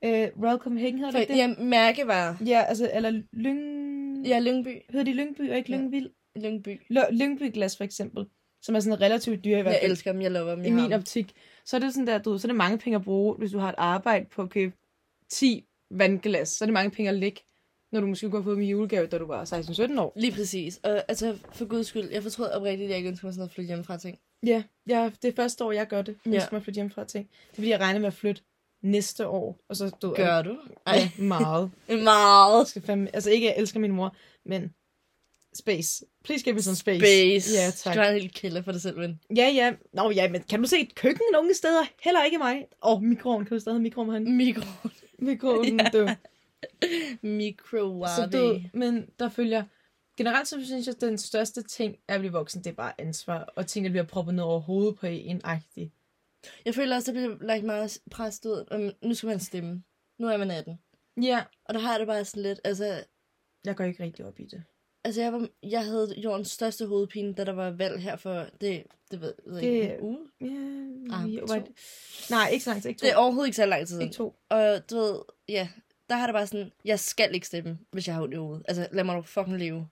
Speaker 2: øh, Royal Copenhagen, hedder
Speaker 1: For,
Speaker 2: det ikke det?
Speaker 1: ja, mærkevarer.
Speaker 2: Ja, altså, eller Lyng...
Speaker 1: Ja, Lyngby.
Speaker 2: Hedder de Lyngby og ikke
Speaker 1: Ja.
Speaker 2: Lyngvild?
Speaker 1: Lyngby.
Speaker 2: L- Lyngby-glas, for eksempel, som er sådan relativt dyre i hvert
Speaker 1: Jeg
Speaker 2: fald,
Speaker 1: elsker dem, jeg lover dem. Jeg
Speaker 2: i
Speaker 1: har
Speaker 2: min
Speaker 1: dem.
Speaker 2: optik. Så er det sådan der, du, ved, så er det mange penge at bruge, hvis du har et arbejde på at købe 10 vandglas. Så er det mange penge at lægge, når du måske kunne have fået dem i julegave, da du var 16-17 år.
Speaker 1: Lige præcis. Og altså, for guds skyld, jeg fortrød oprigtigt, at jeg ikke ønsker mig sådan noget flytte hjemmefra ting.
Speaker 2: Ja, ja, det er første år, jeg gør det. Jeg
Speaker 1: Ja.
Speaker 2: ja. mig at flytte hjemmefra ting. Det er fordi, jeg regner med at flytte næste år. Og så du,
Speaker 1: Gør du? Ej,
Speaker 2: Ja, meget. Jeg
Speaker 1: meget.
Speaker 2: skal fandme, altså ikke, jeg elsker min mor, men space. Please give me some space.
Speaker 1: Space.
Speaker 2: Ja,
Speaker 1: Du
Speaker 2: tak.
Speaker 1: har en helt kælder for dig selv, men.
Speaker 2: Ja, ja. Nå, ja, men kan du se et køkken nogle steder? Heller ikke mig. Og mikroen, kan du stadig have mikroen herinde?
Speaker 1: Mikro.
Speaker 2: Mikroen, ja. du.
Speaker 1: Mikrowave.
Speaker 2: Så du, men der følger... Generelt så synes jeg, at den største ting er at blive voksen, det er bare ansvar. Og ting, der bliver proppet ned over hovedet på en, agtig.
Speaker 1: Jeg føler også, der bliver lagt meget pres ud. Um, nu skal man stemme. Nu er man 18.
Speaker 2: Ja,
Speaker 1: Og der har jeg det bare sådan lidt, altså,
Speaker 2: jeg går ikke rigtig op i det.
Speaker 1: Altså, jeg, var, jeg havde jordens største hovedpine, da der var valg her for, det, det ved jeg
Speaker 2: Det-
Speaker 1: ikke, en uge.
Speaker 2: Ja,
Speaker 1: Ah,
Speaker 2: jo,
Speaker 1: to.
Speaker 2: var det- Nej, ikke så langt. Ikke to.
Speaker 1: Det er overhovedet ikke så lang tid
Speaker 2: ikke
Speaker 1: siden.
Speaker 2: to.
Speaker 1: Og du ved, ja, der har det bare sådan, jeg skal ikke stemme, hvis jeg har ondt i hovedet. Altså, lad mig nu fucking leve.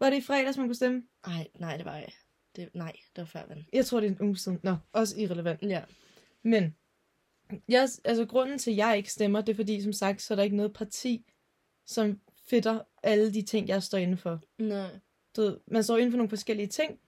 Speaker 2: Var det i fredags, man kunne stemme?
Speaker 1: Ej, nej, det var jeg. Det, nej, det var før, ven.
Speaker 2: Jeg tror, det er en uge siden. Nå, også irrelevant.
Speaker 1: Ja.
Speaker 2: Men, jeg, altså grunden til, at jeg ikke stemmer, det er fordi, som sagt, så er der ikke noget parti, som fitter alle de ting, jeg står inde for.
Speaker 1: Nej.
Speaker 2: Du ved, man står inde for nogle forskellige ting.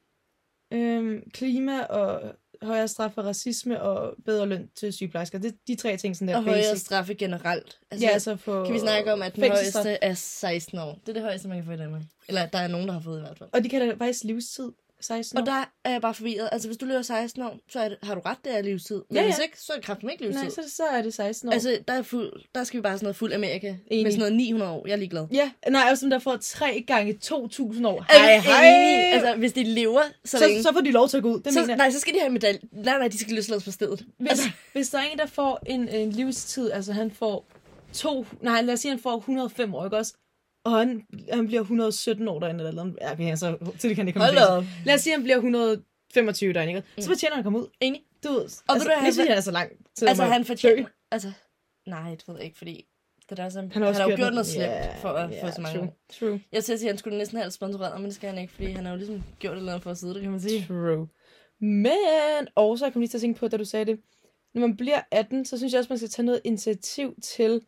Speaker 2: Øhm, klima og højere straf for racisme og bedre løn til sygeplejersker. Det er de tre ting, sådan der
Speaker 1: Og højere
Speaker 2: basic.
Speaker 1: straffe generelt. Altså,
Speaker 2: Ja, altså for
Speaker 1: kan vi snakke om, at den
Speaker 2: fængselsstraf.
Speaker 1: højeste er 16 år. Det er det højeste, man kan få i Danmark. Eller der er nogen, der har fået i hvert fald.
Speaker 2: Og de kalder det faktisk livstid. 16 år.
Speaker 1: Og der er jeg bare forvirret. Altså, hvis du lever 16 år, så er det, har du ret, det er livstid. Men
Speaker 2: Ja, ja.
Speaker 1: hvis ikke, så er det kraften ikke livstid.
Speaker 2: Nej, så, så er det 16 år.
Speaker 1: Altså, der, er fuld, der skal vi bare sådan noget fuld Amerika. Enig.
Speaker 2: Enig.
Speaker 1: Med sådan noget 900 år. Jeg er ligeglad.
Speaker 2: Ja, nej, og som der får tre gange 2.000 år.
Speaker 1: Altså, enig. Altså, hvis de lever så,
Speaker 2: så,
Speaker 1: længe. Så,
Speaker 2: så, så får de lov til at gå ud. Det mener
Speaker 1: så,
Speaker 2: jeg.
Speaker 1: nej, så skal de have en medalje. Nej, nej, de skal løslades på stedet.
Speaker 2: Hvis, altså... hvis der er en, der får en, en livstid, altså han får to, nej lad os sige, han får 105 år, ikke også? Og han, han bliver 117 år derinde, eller noget. Ja, okay, altså, til det kan det komme
Speaker 1: Hold
Speaker 2: til.
Speaker 1: op.
Speaker 2: Lad os sige, han bliver 125 derinde, ikke? også? Så fortjener han at komme ud.
Speaker 1: Enig.
Speaker 2: Du ved, altså,
Speaker 1: ved du hvad, han-
Speaker 2: det synes jeg er så langt. til
Speaker 1: Altså,
Speaker 2: at-
Speaker 1: han fortjener... Altså, nej, det ved jeg ikke, fordi... Det der, som, han har, han har jo gjort noget slemt yeah, for at yeah, få så mange
Speaker 2: true,
Speaker 1: år.
Speaker 2: true,
Speaker 1: Jeg siger, at han skulle næsten have sponsoreret, men det skal han ikke, fordi han har jo ligesom gjort et eller andet for at sidde der, kan man sige.
Speaker 2: true. Men, og så kom jeg lige til at tænke på, da du sagde det. Når man bliver 18, så synes jeg også, man skal tage noget initiativ til,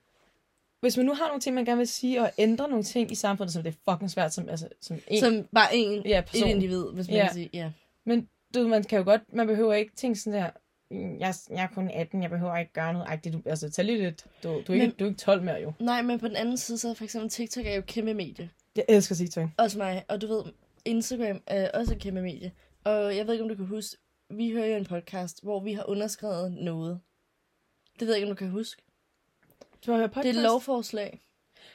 Speaker 2: hvis man nu har nogle ting, man gerne vil sige, og ændre nogle ting i samfundet, som det er fucking svært som, altså, som en
Speaker 1: Som bare en,
Speaker 2: ja,
Speaker 1: et
Speaker 2: person.
Speaker 1: individ, hvis man
Speaker 2: Ja.
Speaker 1: kan sige. Ja.
Speaker 2: Men du, ved, man kan jo godt, man behøver ikke tænke sådan der, "Mm, jeg, jeg er kun 18, jeg behøver ikke gøre noget. Ej, det, du, altså, tag lige lidt. Du, du, er ikke,
Speaker 1: Men-
Speaker 2: du er ikke 12 mere, jo.
Speaker 1: Nej, men på den anden side, så er for eksempel TikTok er jo et kæmpe medie.
Speaker 2: Jeg elsker TikTok.
Speaker 1: Også mig. Og du ved, Instagram er også et kæmpe medie. Og jeg ved ikke, om du kan huske, vi hører jo en podcast, hvor vi har underskrevet noget. Det ved jeg ikke, om du kan huske.
Speaker 2: Du har hørt
Speaker 1: Det
Speaker 2: podcast?
Speaker 1: er et lovforslag.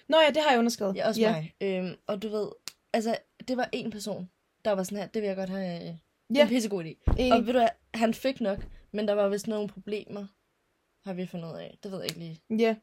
Speaker 2: Nå ja, det har jeg underskrevet.
Speaker 1: Ja, også
Speaker 2: ja.
Speaker 1: mig. Øhm, og du ved, altså, det var en person, der var sådan her, det vil jeg godt have øh,
Speaker 2: Ja.
Speaker 1: en pissegod idé.
Speaker 2: Enig.
Speaker 1: Og ved du hvad, han fik nok, men der var vist nogle problemer, har vi fundet ud af. Det ved jeg ikke lige.
Speaker 2: Ja.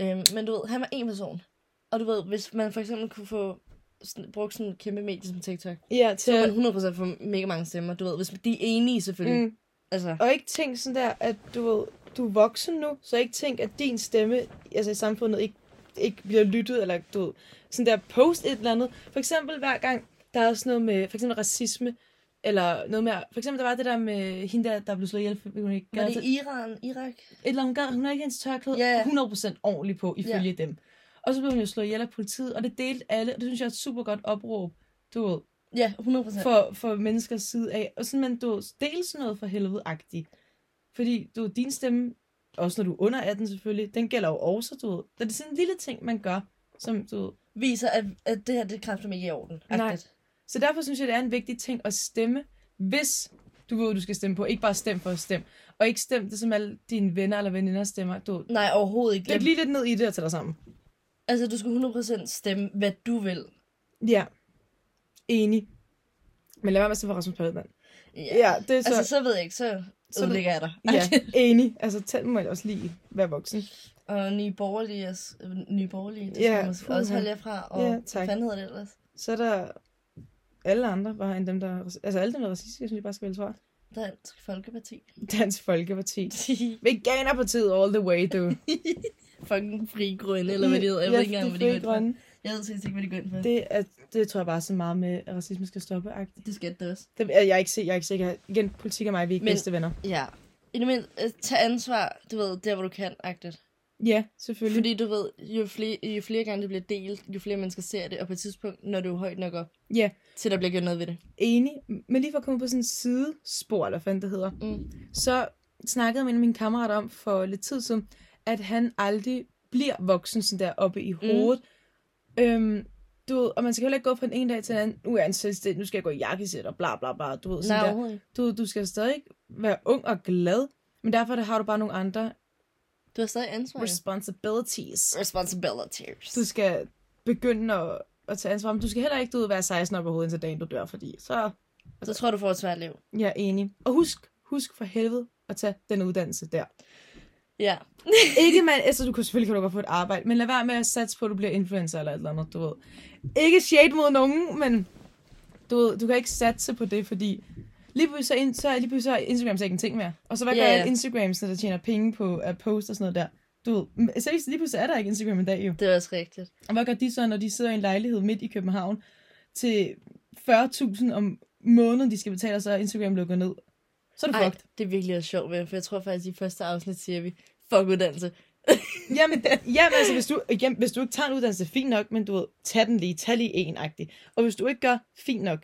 Speaker 1: Øhm, men du ved, han var en person. Og du ved, hvis man for eksempel kunne få sådan, brugt sådan en kæmpe medie som TikTok,
Speaker 2: Ja,
Speaker 1: så
Speaker 2: til...
Speaker 1: kunne man 100% få mega mange stemmer. Du ved, hvis de er enige selvfølgelig. Mm.
Speaker 2: Mm.
Speaker 1: Altså,
Speaker 2: Og ikke tænk sådan der, at du ved, du er voksen nu, så ikke tænk, at din stemme altså i samfundet ikke, ikke bliver lyttet, eller du ved, sådan der post et eller andet. For eksempel hver gang, der er sådan noget med, for eksempel racisme, eller noget med, for eksempel der var det der med hende der, der blev slået ihjel, fordi hun ikke
Speaker 1: var
Speaker 2: gad
Speaker 1: det
Speaker 2: til-
Speaker 1: Iran, Irak?
Speaker 2: et eller andet, hun, gad, hun havde ikke hendes tørklæde
Speaker 1: Ja, ja.
Speaker 2: 100% ordentligt på, ifølge dem. Og så blev hun jo slået ihjel af politiet, og det delte alle, og det synes jeg er et super godt opråb, du ved,
Speaker 1: Ja, 100%. For...
Speaker 2: for, for menneskers side af. Og sådan, men du ved, del sådan noget for helvede-agtigt. Fordi du, ved, din stemme, også når du er under 18 selvfølgelig, den gælder jo også, du ved. Det er sådan en lille ting, man gør, som du ved.
Speaker 1: Viser, at, at det her, det kræfter mig ikke i orden.
Speaker 2: Nej.
Speaker 1: Agtigt.
Speaker 2: Så derfor synes jeg, det er en vigtig ting at stemme, hvis du ved, du skal stemme på. Ikke bare stemme for at stemme. Og ikke stemme det, som alle dine venner eller veninder stemmer. Du, ved.
Speaker 1: Nej, overhovedet ikke.
Speaker 2: Læg lige lidt ned i det og tag dig sammen.
Speaker 1: Altså, du skal 100% stemme, hvad du vil.
Speaker 2: Ja. Enig. Men lad være med at stemme for Rasmus Paludan.
Speaker 1: Ja.
Speaker 2: Ja, det er så...
Speaker 1: Altså, så ved jeg ikke, så,
Speaker 2: Så
Speaker 1: så ligger jeg dig.
Speaker 2: ja, enig. Altså, tæt må jeg også lige være voksen.
Speaker 1: Og nye borgerlige, er s- øh, nye borgerlige det
Speaker 2: Ja,
Speaker 1: skal man s- også
Speaker 2: puha.
Speaker 1: holde jer fra. Og
Speaker 2: Ja,
Speaker 1: ja,
Speaker 2: tak.
Speaker 1: hvad fanden hedder det ellers?
Speaker 2: Så er der alle andre, bare end dem, der... er raci- Altså, alle dem, der er racistiske, synes jeg bare skal vælge fra.
Speaker 1: Dansk Folkeparti.
Speaker 2: Dansk Folkeparti. Veganerpartiet all the way, du.
Speaker 1: Fucking fri grønne, eller hvad de hedder. Jeg ved ikke engang, hvad de går ind for.
Speaker 2: grønne.
Speaker 1: Jeg ved seriøst ikke, hvad de går ind for. Det,
Speaker 2: Det, er, det tror jeg bare er så meget med, at racisme skal stoppe. -agtigt.
Speaker 1: det skal det også.
Speaker 2: Det, jeg, jeg, er ikke, se- jeg er ikke sikker. Igen, politik og mig, vi er ikke
Speaker 1: Men-
Speaker 2: bedste venner.
Speaker 1: Ja. I det mindste, øh, tag ansvar, du ved, der hvor du kan, agtigt.
Speaker 2: Ja, selvfølgelig.
Speaker 1: Fordi du ved, jo flere, jo flere gange det bliver delt, jo flere mennesker ser det, og på et tidspunkt, når du er højt nok op,
Speaker 2: Ja.
Speaker 1: til der bliver gjort noget ved det.
Speaker 2: enig, men lige for at komme på sådan en sidespor, eller hvad fanden det hedder,
Speaker 1: Mm.
Speaker 2: så snakkede jeg med min kammerat om for lidt tid siden, at han aldrig bliver voksen sådan der oppe i hovedet. Mm. Øhm, du ved, og man skal heller ikke gå fra den ene dag til den anden, nu er jeg en selvstændig, nu skal jeg gå i jakkesæt og bla bla bla, du ved, sådan
Speaker 1: Nej,
Speaker 2: der.
Speaker 1: overhovedet ikke.
Speaker 2: Du, du skal stadig være ung og glad, men derfor har du bare nogle andre
Speaker 1: Du har stadig ansvar. jo.
Speaker 2: responsibilities.
Speaker 1: Responsibilities.
Speaker 2: Du skal begynde at, at tage ansvar, men du skal heller ikke du ved, være 16 op i hovedet, indtil dagen du dør, fordi så
Speaker 1: Så tror jeg, du får et svært liv.
Speaker 2: Jeg er enig. Og husk, husk for helvede at tage den uddannelse der.
Speaker 1: Ja.
Speaker 2: Ikke man, altså du kan selvfølgelig kan du godt få et arbejde, men lad være med at satse på, at du bliver influencer eller et eller andet, du ved. Ikke shade mod nogen, men du ved, du kan ikke satse på det, fordi lige pludselig så, ind, så, er- lige pludselig så er Instagram så ikke en ting mere. Og så hvad gør
Speaker 1: Ja, ja.
Speaker 2: yeah. Instagram, der tjener penge på at poste og sådan noget der? Du ved, men seriøst, lige pludselig er der ikke Instagram i dag jo.
Speaker 1: Det er også rigtigt.
Speaker 2: Og hvad gør de så, når de sidder i en lejlighed midt i København til 40.000 om måneden, de skal betale, og så er Instagram lukker ned? Så er du
Speaker 1: Ej,
Speaker 2: fucked.
Speaker 1: det er virkelig også sjovt, venner, for jeg tror faktisk, i første afsnit siger vi, fuck uddannelse.
Speaker 2: Jamen, jamen altså, hvis du, jamen, hvis du ikke tager en uddannelse, fint nok, men du ved, tag den lige, tag lige en -agtig. Og hvis du ikke gør, fint nok.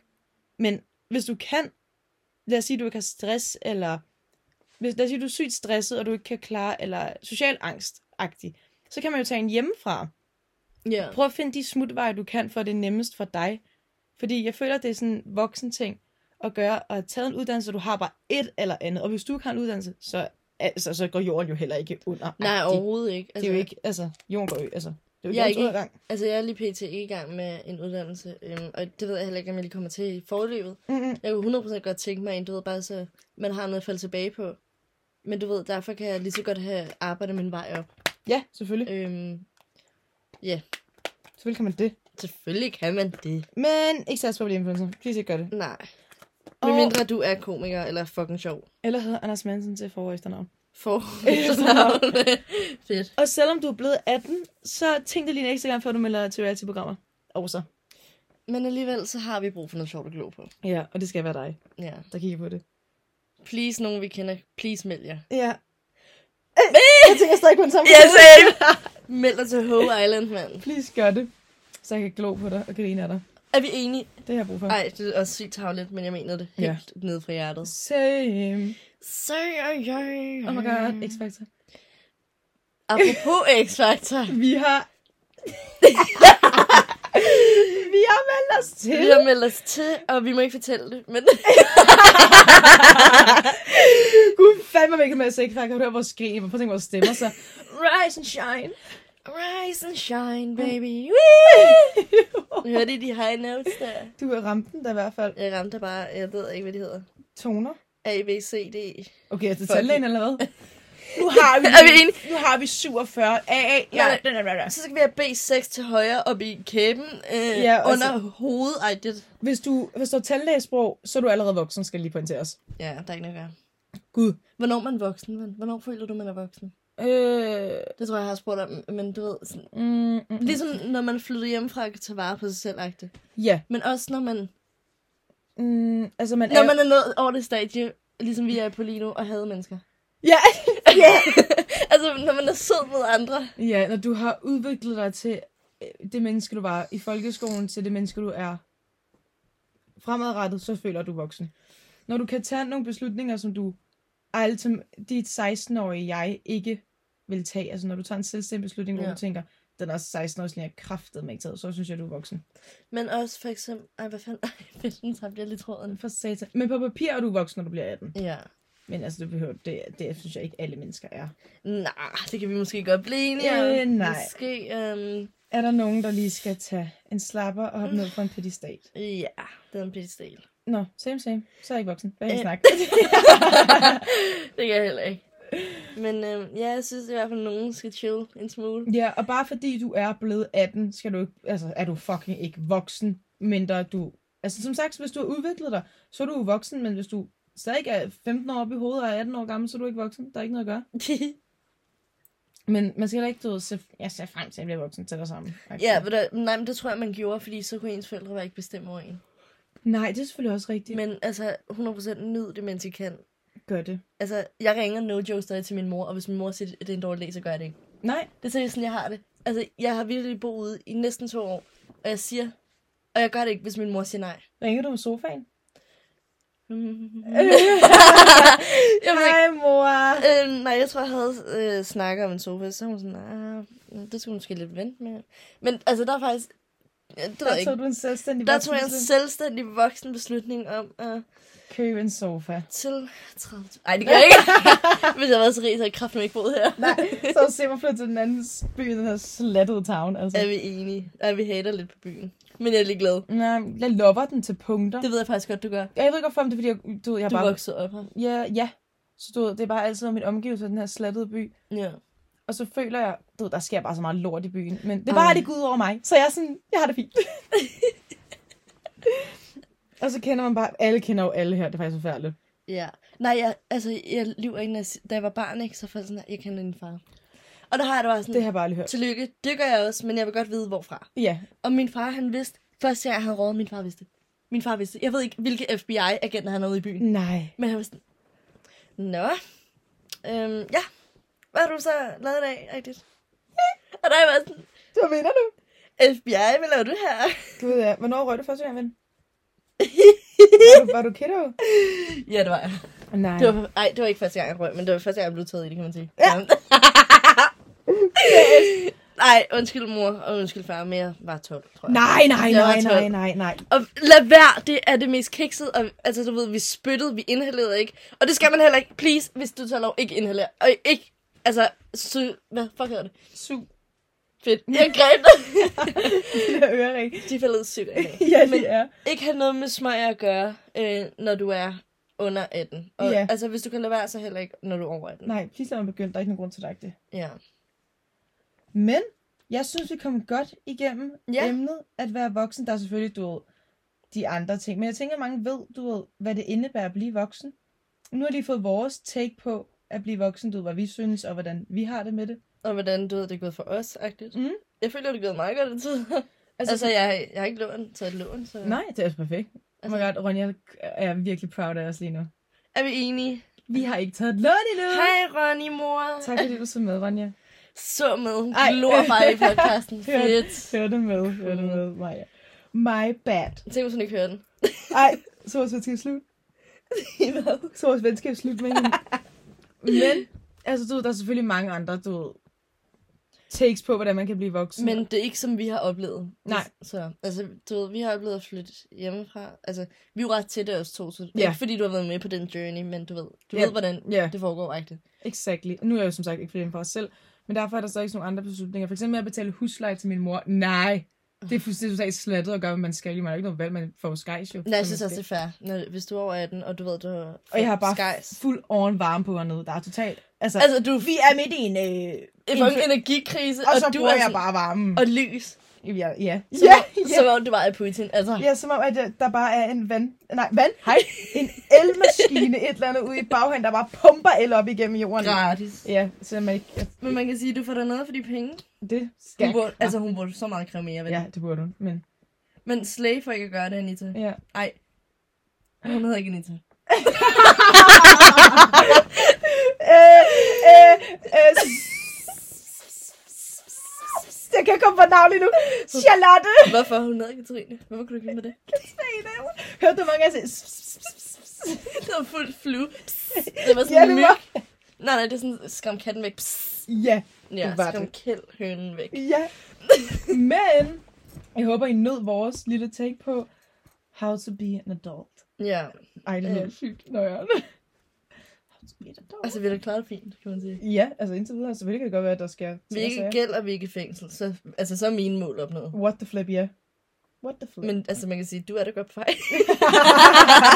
Speaker 2: Men hvis du kan, lad os sige, du ikke har stress, eller hvis, lad os sige, du er sygt stresset, og du ikke kan klare, eller social angst -agtig, så kan man jo tage en hjemmefra.
Speaker 1: Ja.
Speaker 2: Prøv at finde de smutveje, du kan, for at det er nemmest for dig. Fordi jeg føler, det er sådan en voksen ting at gøre, og at tage en uddannelse, du har bare et eller andet. Og hvis du ikke har en uddannelse, så, altså, så går jorden jo heller ikke under.
Speaker 1: Nej,
Speaker 2: agtigt.
Speaker 1: overhovedet ikke.
Speaker 2: Det er jo ikke, altså, jorden går jo, altså, det er jo
Speaker 1: Jeg er
Speaker 2: ikke
Speaker 1: ikke-
Speaker 2: jordens undergang.
Speaker 1: Altså, jeg er lige pt. ikke i gang med en uddannelse, øhm, og det ved jeg heller ikke, om jeg lige kommer til i forløbet.
Speaker 2: Mm-mm.
Speaker 1: Jeg kunne 100% godt tænke mig en, du ved, bare så man har noget at falde tilbage på. Men du ved, derfor kan jeg lige så godt have arbejdet min vej op.
Speaker 2: Ja, selvfølgelig.
Speaker 1: Øhm,
Speaker 2: Selvfølgelig kan man det.
Speaker 1: selvfølgelig kan man det.
Speaker 2: Men ikke sats på at blive influencer. Please ikke gør det.
Speaker 1: Nej.
Speaker 2: Og-
Speaker 1: Medmindre du er komiker eller fucking sjov.
Speaker 2: Eller hedder Anders Mansen til forår efternavn.
Speaker 1: For Fedt.
Speaker 2: Og selvom du er blevet 18, så tænk dig lige en ekstra gang, før du melder dig til reality-programmer. Og så.
Speaker 1: Men alligevel, så har vi brug for noget sjovt at glo på.
Speaker 2: Ja, og det skal være dig,
Speaker 1: Ja.
Speaker 2: der kigger på det.
Speaker 1: Please, nogen vi kender. Please, meld jer.
Speaker 2: Ja. Jeg tænker stadig kun sammen.
Speaker 1: same! meld dig til Hope Island, mand.
Speaker 2: Please gør det, så jeg kan glo på dig og grine af dig.
Speaker 1: Er vi enige?
Speaker 2: Det har jeg brug for.
Speaker 1: Ej, det er også sygt tavligt, men jeg mener det
Speaker 2: Ja.
Speaker 1: helt ja. ned fra hjertet.
Speaker 2: Same.
Speaker 1: Så jeg, jeg.
Speaker 2: Oh my god, X-Factor.
Speaker 1: Apropos X-Factor.
Speaker 2: Vi har... vi har meldt os til.
Speaker 1: Vi har meldt os til, og vi må ikke fortælle det, men
Speaker 2: Gud, fandme mig ikke med at se X-Factor. Kan du høre vores skrig? Prøv at tænke vores stemmer så. Rise and shine.
Speaker 1: Rise and shine, baby. Whee! Hørte I de high notes der?
Speaker 2: Du er rampen der i hvert fald.
Speaker 1: Jeg ramte bare, jeg ved ikke, hvad de hedder.
Speaker 2: Toner.
Speaker 1: A, B, C, D. E.
Speaker 2: Okay, er det
Speaker 1: Fuck.
Speaker 2: tandlægen eller hvad? Nu har vi,
Speaker 1: Er vi enige?
Speaker 2: nu har vi 47. AA. Ja,
Speaker 1: Nej.
Speaker 2: den er der, der.
Speaker 1: Så skal vi have B6 til højre op i kæben, øh,
Speaker 2: Ja,
Speaker 1: ja,
Speaker 2: og
Speaker 1: under hovedet. Ej, det,
Speaker 2: Hvis du forstår tandlægesprog, så er du allerede voksen, skal jeg lige pointere os.
Speaker 1: ja, der er ikke noget at gøre.
Speaker 2: Gud.
Speaker 1: Hvornår er man voksen, men? Hvornår føler du, man er voksen?
Speaker 2: Øh,
Speaker 1: Det tror jeg, jeg har spurgt om, men du ved, sådan,
Speaker 2: mm, mm, mm.
Speaker 1: ligesom når man flytter hjemmefra og kan tage vare på sig selv, agtigt.
Speaker 2: Ja.
Speaker 1: men også når man,
Speaker 2: Mm, altså, man
Speaker 1: når
Speaker 2: er... jo-
Speaker 1: man er nået over det stadie, ligesom vi er på lige nu, og havde mennesker.
Speaker 2: Ja.
Speaker 1: Ja, altså når man er sød mod andre.
Speaker 2: ja, når du har udviklet dig til øh, det menneske, du var i folkeskolen, til det menneske, du er fremadrettet, så føler du voksen. Når du kan tage nogle beslutninger, som du altså, dit 16-årige jeg ikke vil tage, altså når du tager en selvstændig beslutning, hvor
Speaker 1: Ja.
Speaker 2: du tænker, den er 16 år, siden jeg kraftet mig ikke taget, så synes jeg, du er voksen.
Speaker 1: Men også for eksempel... Ej, hvad fanden? Ej, fedt, så bliver lidt tråden.
Speaker 2: For satan. Men på papir er du voksen, når du bliver 18.
Speaker 1: Ja.
Speaker 2: Men altså, det, behøver, det, det synes jeg ikke, alle mennesker er.
Speaker 1: Nej, det kan vi måske godt blive enige om.
Speaker 2: Øh, nej.
Speaker 1: Måske, øhm,
Speaker 2: Er der nogen, der lige skal tage en slapper og
Speaker 1: Mm.
Speaker 2: hoppe ned fra en pedestal?
Speaker 1: ja, det er en pedestal.
Speaker 2: Nå, same same. Så er jeg ikke voksen. Hvad er
Speaker 1: Øh.
Speaker 2: jeg snak?
Speaker 1: Det kan jeg heller ikke. Men øhm, ja, jeg synes i hvert fald, at nogen skal chill en smule.
Speaker 2: Ja, og bare fordi du er blevet 18, skal du ikke, altså, er du fucking ikke voksen, mindre du... Altså som sagt, hvis du har udviklet dig, så er du jo voksen, men hvis du stadig er 15 år oppe i hovedet og er 18 år gammel, så er du ikke voksen. Der er ikke noget at gøre. Men man skal heller ikke, du ved, se, jeg ser frem til, at jeg bliver voksen til dig sammen.
Speaker 1: ja, ved du, nej, men det tror jeg, man gjorde, fordi så kunne ens forældre bare ikke bestemme over en.
Speaker 2: Nej, det er selvfølgelig også rigtigt. Men...
Speaker 1: Men altså, 100% nyd det, mens I kan.
Speaker 2: Gør det.
Speaker 1: Altså, jeg ringer no joke stadig til min mor, og hvis min mor siger, at det er en dårlig dag, så gør jeg det ikke.
Speaker 2: Nej,
Speaker 1: Det er seriøst sådan, jeg har det. Altså, jeg har virkelig boet ude i næsten to år, og jeg siger, og jeg gør det ikke, hvis min mor siger nej.
Speaker 2: ringer du om sofaen?
Speaker 1: Jeg ved ikke.
Speaker 2: Hej, mor!
Speaker 1: Øh, nej, jeg tror, jeg havde øh, snakket om en sofa, så var hun sådan, ah, det skulle hun måske lidt vente med. Men altså, der er faktisk, ja, det ved jeg
Speaker 2: Der
Speaker 1: ikke.
Speaker 2: tog du en selvstændig
Speaker 1: Der
Speaker 2: voksen
Speaker 1: tog jeg en
Speaker 2: beslutning.
Speaker 1: selvstændig voksen beslutning om at
Speaker 2: Købe en sofa.
Speaker 1: til 30. Nej, det gør jeg ikke. Hvis jeg var så rig, så havde jeg kraften ikke boet her.
Speaker 2: Nej, så se mig flytte til den anden by, den her slattede town. Altså.
Speaker 1: Er vi enige? Er vi hater lidt på byen. Men jeg er lidt glad.
Speaker 2: Nej, jeg lover den til punkter.
Speaker 1: Det ved jeg faktisk godt, du gør.
Speaker 2: Jeg ved ikke, hvorfor men det er, fordi jeg, du ved, jeg
Speaker 1: Du
Speaker 2: bare...
Speaker 1: er vokset op her.
Speaker 2: Ja, ja. Så du ved, det er bare altid om mit omgivelse, den her slattede by.
Speaker 1: Ja.
Speaker 2: Og så føler jeg, du ved, der sker bare så meget lort i byen. Men det er
Speaker 1: Ej.
Speaker 2: bare, det går ud over mig. Så jeg er sådan, jeg har det fint. og så kender man bare, alle kender jo alle her. Det er faktisk forfærdeligt.
Speaker 1: Ja. Nej, jeg, altså, jeg lyver ikke, når jeg, si- da jeg var barn, ikke, så var sådan, at jeg kender din far. Og der har jeg det bare sådan,
Speaker 2: Det har jeg bare lige hørt.
Speaker 1: tillykke, det gør jeg også, men jeg vil godt vide, hvorfra.
Speaker 2: Ja,
Speaker 1: Og min far, han vidste, første gang jeg havde rådet, min far vidste det. Min far vidste det. Jeg ved ikke, hvilke FBI-agenter han havde ude i byen.
Speaker 2: nej.
Speaker 1: Men han var sådan, Nå, øhm, ja, hvad har du så lavet i dag, rigtigt? Og der var jeg sådan,
Speaker 2: Hvad mener du?
Speaker 1: FBI, hvad laver du her?
Speaker 2: Gud, ja. Hvornår røg du første gang, ven? var, du, var du kiddo?
Speaker 1: ja, det var jeg.
Speaker 2: Nej.
Speaker 1: Det var, ej, det var ikke første gang, jeg røg, men det var første gang, jeg blev taget i det, kan man sige.
Speaker 2: Ja.
Speaker 1: Nej, undskyld mor og undskyld far, men jeg var 12, tror jeg.
Speaker 2: Nej, nej,
Speaker 1: Jeg var
Speaker 2: nej, nej,
Speaker 1: tolv.
Speaker 2: nej, nej.
Speaker 1: Og lad være, det er det mest kiksede, og altså du ved, vi spyttede, vi inhalerede ikke. Og det skal man heller ikke, please, hvis du tager lov, ikke inhalere. Og ikke, altså, sy, hvad fuck hedder det?
Speaker 2: Su.
Speaker 1: Fedt. Jeg greb dig.
Speaker 2: Det der ørering.
Speaker 1: De faldet sygt af.
Speaker 2: ja, det er.
Speaker 1: Ikke have noget med smøger at gøre, øh, når du er under 18. Og,
Speaker 2: Ja.
Speaker 1: Altså, hvis du kan lade være, så heller ikke, når du er over 18.
Speaker 2: Nej, please lad mig begynde. Der er ikke nogen grund til dig det.
Speaker 1: Ja.
Speaker 2: Men jeg synes, vi kom godt igennem ja.
Speaker 1: Ja.
Speaker 2: emnet at være voksen. Der er selvfølgelig, du ved, de andre ting. Men jeg tænker, at mange ved, du ved, hvad det indebærer at blive voksen. Nu har de fået vores take på at blive voksen, du ved, hvad vi synes, og hvordan vi har det med det.
Speaker 1: Og hvordan, du ved, det er gået for os, agtigt.
Speaker 2: Mm.
Speaker 1: Jeg føler, det er gået meget godt i tid.
Speaker 2: Altså,
Speaker 1: altså, jeg, jeg har ikke lån, taget et lån, så...
Speaker 2: Nej, det er også perfekt. Altså,
Speaker 1: Altså-
Speaker 2: oh my god, Ronja er virkelig proud af os lige nu.
Speaker 1: Er vi enige?
Speaker 2: Vi har ikke taget et lån endnu.
Speaker 1: Hej, Ronny, mor.
Speaker 2: Tak fordi du så med, Ronja.
Speaker 1: Så med.
Speaker 2: Ej.
Speaker 1: Glor mig i podcasten.
Speaker 2: Hør det.
Speaker 1: Fedt.
Speaker 2: Hør det med, hør det med, Maja. My bad.
Speaker 1: Tænk, hvis hun ikke hører den.
Speaker 2: Ej, så vores venskab slut. Så vores venskab slut med hende. Men, altså du ved, der er selvfølgelig mange andre, du ved, takes på, hvordan man kan blive voksen.
Speaker 1: Men det er ikke, som vi har oplevet.
Speaker 2: Nej.
Speaker 1: Så, altså, du ved, vi har oplevet at flytte hjemmefra. Altså, vi er jo ret tætte os to, så
Speaker 2: Ja.
Speaker 1: ikke fordi du har været med på den journey, men du ved, du
Speaker 2: Ja.
Speaker 1: ved, hvordan
Speaker 2: Ja,
Speaker 1: det foregår rigtigt.
Speaker 2: exactly. Nu er jeg jo som sagt ikke flyttet hjem for os selv, Men derfor er der så ikke nogen andre beslutninger. For eksempel at betale husleje til min mor. Nej, det er fuldstændig totalt slattet at gøre, hvad man skal. Man har ikke noget valg, man får skejs jo.
Speaker 1: Nej, jeg
Speaker 2: som
Speaker 1: synes
Speaker 2: man
Speaker 1: også,
Speaker 2: skal.
Speaker 1: det er fair. Når, hvis du er over 18, og du ved, du har
Speaker 2: Og jeg har bare
Speaker 1: Skies.
Speaker 2: fuld oven varme på hernede. Der er totalt... Altså,
Speaker 1: Altså, du
Speaker 2: vi er midt i en... Øh,
Speaker 1: er
Speaker 2: en-
Speaker 1: for en energikrise,
Speaker 2: og, så
Speaker 1: du
Speaker 2: bruger
Speaker 1: er
Speaker 2: jeg
Speaker 1: sådan-
Speaker 2: bare varmen.
Speaker 1: Og lys.
Speaker 2: Ja, ja.
Speaker 1: Som,
Speaker 2: ja,
Speaker 1: om,
Speaker 2: ja.
Speaker 1: som om du var i Putin. Altså,
Speaker 2: Ja, som om, at øh, der bare er en vand... Nej, vand? Hej. En elmaskine et eller andet ude i baghaven, der bare pumper el op igennem jorden.
Speaker 1: gratis.
Speaker 2: Ja, så man ikke...
Speaker 1: Men man kan sige, at du får dig noget for de penge.
Speaker 2: Det skal
Speaker 1: Hun burde, altså, hun burde så meget kræve mere. Vel?
Speaker 2: Ja, det burde hun, men...
Speaker 1: Men slave for ikke at gøre det, Anita.
Speaker 2: Ja.
Speaker 1: Nej. Hun hedder ikke Anita.
Speaker 2: Øh, øh, øh, jeg kan ikke komme på navn lige nu. Charlotte!
Speaker 1: Hvorfor? Hun hedder Katrine. Hvorfor kunne du ikke med det?
Speaker 2: Hørte du hvor mange gange jeg sagde...
Speaker 1: Det var fuldt flue. Det var
Speaker 2: Ja,
Speaker 1: sådan en
Speaker 2: det
Speaker 1: myg.
Speaker 2: var-
Speaker 1: Nej, nej, det er sådan, skram katten væk. Psst.
Speaker 2: Ja,
Speaker 1: Ja,
Speaker 2: Det var
Speaker 1: skram
Speaker 2: det.
Speaker 1: kældhønen væk.
Speaker 2: ja. Men, jeg håber, I nød vores lille take på How to be an adult.
Speaker 1: Ja,
Speaker 2: Ej, det
Speaker 1: Øh.
Speaker 2: lyder sygt nøjerne. How to be an adult.
Speaker 1: altså vi har da klaret det fint, kan man sige.
Speaker 2: Ja, altså indtil videre, selvfølgelig kan det godt være, at der sker... ting
Speaker 1: Vi
Speaker 2: og
Speaker 1: er ikke i
Speaker 2: sager.
Speaker 1: gæld, og vi er ikke i fængsel. Så, altså, så er mine mål opnået.
Speaker 2: What the flip, ja. Yeah. What the flip.
Speaker 1: Men altså, man kan sige, du er da godt på vej.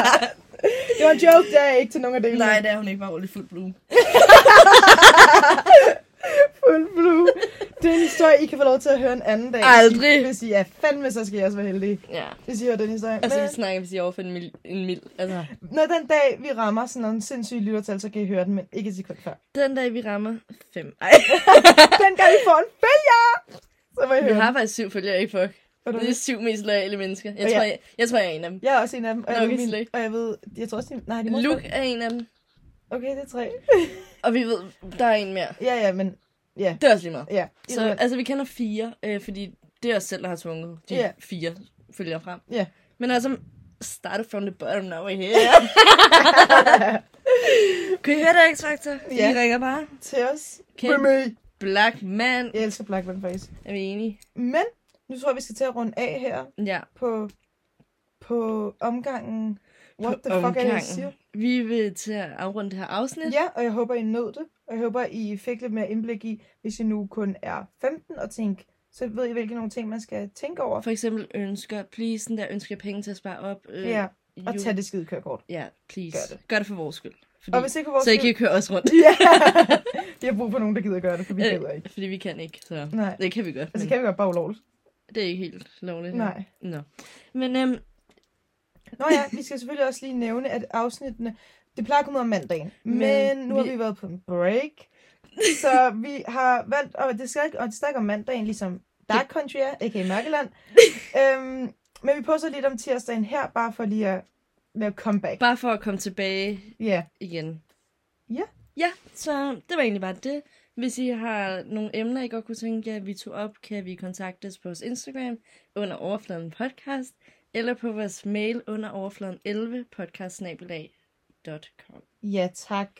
Speaker 2: Det var en joke, der er ikke til nogen af delene.
Speaker 1: nej, det er hun ikke bare ordentligt fuld bloom.
Speaker 2: Full blue. Det er en historie, I kan få lov til at høre en anden dag.
Speaker 1: Aldrig.
Speaker 2: Hvis I er fandme, så skal I også være heldige,
Speaker 1: Ja.
Speaker 2: hvis I hører den historie.
Speaker 1: Altså, vi
Speaker 2: Men
Speaker 1: snakker, hvis I overfører en mil. En mil. Altså,
Speaker 2: når den dag, vi rammer sådan nogle sindssyge lyttertal, så kan I høre den, men ikke et sekund før.
Speaker 1: den dag, vi rammer fem. Ej,
Speaker 2: Den gang, I får en følger, så må I
Speaker 1: vi
Speaker 2: høre
Speaker 1: har
Speaker 2: den.
Speaker 1: faktisk syv følgere, ikke fuck.
Speaker 2: Ved du
Speaker 1: Det er
Speaker 2: det?
Speaker 1: syv mest loyale mennesker. Jeg
Speaker 2: Og
Speaker 1: tror,
Speaker 2: ja.
Speaker 1: jeg, jeg, tror, jeg er en af dem.
Speaker 2: Jeg er også en af dem, og jeg,
Speaker 1: Nok
Speaker 2: ved,
Speaker 1: et slag.
Speaker 2: min, og jeg ved, jeg tror også, de, nej, de må
Speaker 1: Luke er en af dem,
Speaker 2: Okay, det er tre.
Speaker 1: og vi ved, der er en mere.
Speaker 2: Ja, ja, men,
Speaker 1: Det er også lige meget.
Speaker 2: ja. I
Speaker 1: Så
Speaker 2: ved-
Speaker 1: altså, vi kender fire, øh, fordi det er os selv, der har tvunget de
Speaker 2: Ja.
Speaker 1: yeah. fire følger frem.
Speaker 2: Ja.
Speaker 1: Men altså, start from the bottom now we're here. kan I høre det, X-Factor?
Speaker 2: Ja.
Speaker 1: I ringer bare.
Speaker 2: Til os.
Speaker 1: Ken.
Speaker 2: Med mig.
Speaker 1: Black man.
Speaker 2: Jeg elsker Black Man Face.
Speaker 1: Er vi enige?
Speaker 2: Men, nu tror jeg, vi skal til at runde af her
Speaker 1: Ja.
Speaker 2: på, på omgangen. What
Speaker 1: På
Speaker 2: the fuck er det, jeg
Speaker 1: omgangen.
Speaker 2: siger?
Speaker 1: Vi vil til at afrunde det her afsnit.
Speaker 2: Ja, og jeg håber, I nåede det. Og jeg håber, I fik lidt mere indblik i, hvis I nu kun er 15 og tænk, så ved I, hvilke nogle ting, man skal tænke over.
Speaker 1: For eksempel ønsker, please, den der ønsker jeg penge til at spare op. Øh,
Speaker 2: Ja, og
Speaker 1: you-
Speaker 2: tag det skide kørekort.
Speaker 1: Ja, please.
Speaker 2: Gør
Speaker 1: Gør det for vores skyld. Fordi,
Speaker 2: Og hvis ikke for vores
Speaker 1: så I
Speaker 2: skyld-
Speaker 1: kan køre os rundt.
Speaker 2: Ja, vi har brug for nogen, der gider gøre det, for vi gider
Speaker 1: Øh,
Speaker 2: ikke.
Speaker 1: Fordi vi kan ikke, så
Speaker 2: Nej.
Speaker 1: det kan vi godt.
Speaker 2: Altså,
Speaker 1: men
Speaker 2: kan vi godt bare ulovligt?
Speaker 1: Det er ikke helt lovligt.
Speaker 2: Nej.
Speaker 1: Nå. Men øhm,
Speaker 2: Nå ja, vi skal selvfølgelig også lige nævne, at afsnittene, det plejer at komme ud om mandagen, men,
Speaker 1: Men
Speaker 2: men nu har
Speaker 1: vi-
Speaker 2: vi været på en break, så vi har valgt, og det skal ikke, og det skal ikke om mandagen, ligesom Dark Country er, a.k.a. Mørkeland, øhm, men vi poster lidt om tirsdagen her, bare for lige at lave comeback.
Speaker 1: bare for at komme tilbage
Speaker 2: Ja,
Speaker 1: igen.
Speaker 2: Ja.
Speaker 1: Ja, så det var egentlig bare det. Hvis I har nogle emner, I godt kunne tænke jer, at vi tog op, kan vi kontaktes på vores Instagram under overfladen podcast, eller på vores mail under overfladen 11 podcastsnabelag.com.
Speaker 2: ja tak.